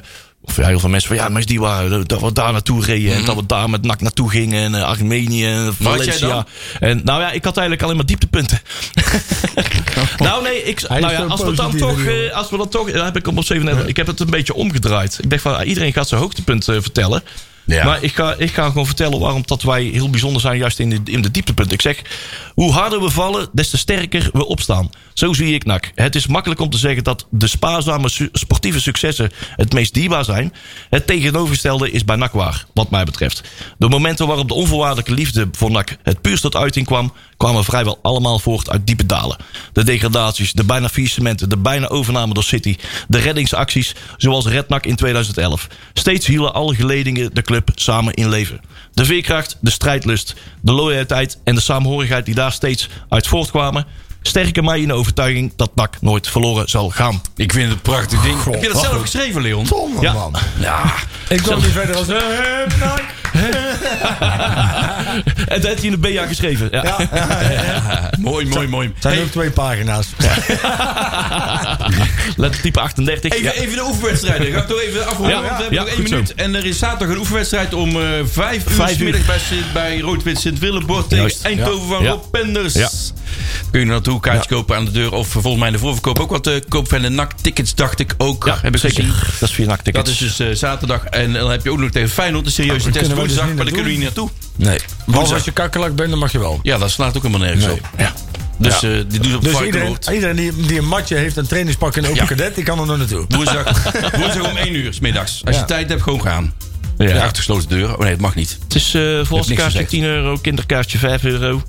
D: Of ja, heel veel mensen van ja, mensen die waren dat we daar naartoe reden en dat we daar met NAC naartoe gingen en eh, Armenië en
B: Mhm. jij
D: Valencia.
B: dan?
D: En nou ja, ik had eigenlijk alleen maar dieptepunten. nou nee, ik,
C: is
D: nou ja,
C: zo'n
D: als we dan
C: positieve
D: toch,
C: jongen.
D: eh, als we dan toch, dan heb ik hem op 37. Ik heb het een beetje omgedraaid. Ik dacht van ah, iedereen gaat zijn hoogtepunt eh, vertellen.
B: Ja.
D: Maar ik ga, ik ga gewoon vertellen waarom dat wij heel bijzonder zijn, juist in de, in de dieptepunten. Ik zeg, hoe harder we vallen, des te sterker we opstaan. Zo zie ik NAC. Het is makkelijk om te zeggen dat de spaarzame su- sportieve successen het meest dierbaar zijn. Het tegenovergestelde is bij NAC waar, wat mij betreft. De momenten waarop de onvoorwaardelijke liefde voor NAC het puurst tot uiting kwam, kwamen vrijwel allemaal voort uit diepe dalen. De degradaties, de bijna faillissementen, de bijna overname door City, de reddingsacties zoals Rednak in 2011. Steeds hielden alle geledingen de club samen in leven. De veerkracht, de strijdlust, de loyaliteit en de saamhorigheid die daar steeds uit voortkwamen, sterken mij in de overtuiging dat NAC nooit verloren zal gaan.
B: Ik vind het een prachtig ding. Heb je dat zelf geschreven, Leon?
D: Ja.
C: man. Ik kwam niet verder als... eh, NAC.
D: En dat heeft hij in de BA geschreven. Ja.
B: Mooi, mooi, mooi.
C: zijn
B: Hey,
C: ook twee pagina's.
D: Let type 38.
B: Even,
D: Ja.
B: even de oefenwedstrijden. Ga ik toch even afronden?
D: Ja,
B: want we
D: ja,
B: hebben nog één
D: goed zo.
B: minuut. En er is zaterdag een oefenwedstrijd om eh vijf uur,
D: Vijf
B: 's
D: uur.
B: middag bij, Sint- bij Rood-Wit Sint-Willebord tegen
D: Juist,
B: Eindhoven van
D: ja.
B: Rob Penders.
D: Ja.
B: Kun je er naartoe kaartjes kopen aan de deur. Of volgens mij in de voorverkoop ook wat eh, koop van de NAC-tickets, dacht ik ook.
D: Ja,
B: heb ik
D: zeker.
B: gezien.
D: Dat is via NAC tickets. Ah,
B: Dat is dus eh, zaterdag. En dan heb je ook nog tegen Feyenoord een serieuze
C: kunnen
B: test
C: wij dus
B: woensdag.
C: niet
B: maar daar kunnen we niet naartoe.
C: Nee.
B: Woensdag.
C: Behalve als je kakkelak bent, dan mag je wel.
B: Ja, dat slaat ook helemaal nergens
C: Nee.
B: op. Ja. Dus eh die doen ze op
C: Dus
B: varkenoord.
C: iedereen, iedereen die, die een matje heeft, een trainingspak en een open
B: Ja.
C: cadet, die kan er nog naartoe.
B: Woensdag, woensdag om 1 uur, s middags. Als je
C: Ja.
B: tijd hebt, gewoon gaan. Ja. Achter gesloten deuren. Oh nee, dat mag niet.
D: Het is eh volwassen
B: niks
D: kaartje
B: gezegd.
D: 10 euro, kinderkaartje 5 euro.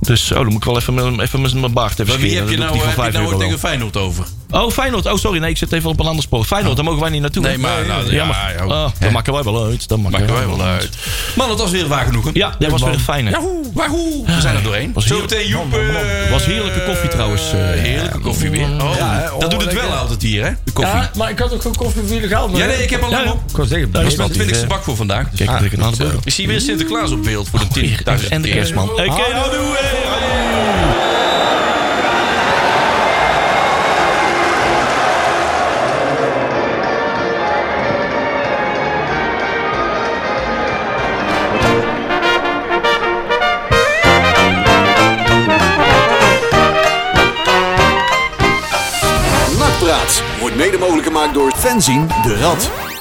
D: Dus oh, dan moet ik wel even, met- even met mijn baard even
B: Maar wie
D: scheren.
B: heb je
D: Dan
B: nou,
D: doe ik die
B: heb je
D: van vijf
B: nou
D: euro
B: ook
D: wel.
B: tegen Feyenoord over?
D: Oh, Feyenoord. Oh, sorry. Nee, ik zit even op een ander spoor. Feyenoord, daar mogen wij niet naartoe.
B: Oh. Nee, maar... Nou, ja,
D: Jammer.
B: ja,
D: Oh,
B: hè,
D: dan maken wij wel uit. Dan maken,
B: maken wij wel uit. Man, dat was weer waar genoegen.
D: Ja, dat was weer een fijne.
B: Yahoo, wahoo. We zijn er doorheen.
D: Was
B: Zo
D: heerlijk.
B: meteen Joep... eh,
D: Was heerlijke koffie trouwens, eh.
B: heerlijke koffie weer. Oh,
C: Ja, hè,
B: dat doet het
C: lekker.
B: wel altijd hier, hè? De koffie. Ja,
C: maar ik had ook gewoon koffie voor jullie gehaald.
B: nee, ik heb al lang op.
C: Ik was tegen,
B: Dat is
C: dat
B: mijn
C: is
B: twintigste bak voor vandaag. Dus
D: Kijk, Ah, ik druk het aan de beugel.
B: ik zie weer Sinterklaas op beeld voor de tien.
D: En de kerstman. Ah. Oké, houdoe.
A: Nakpraat wordt mede mogelijk gemaakt door Fenzin de Rad.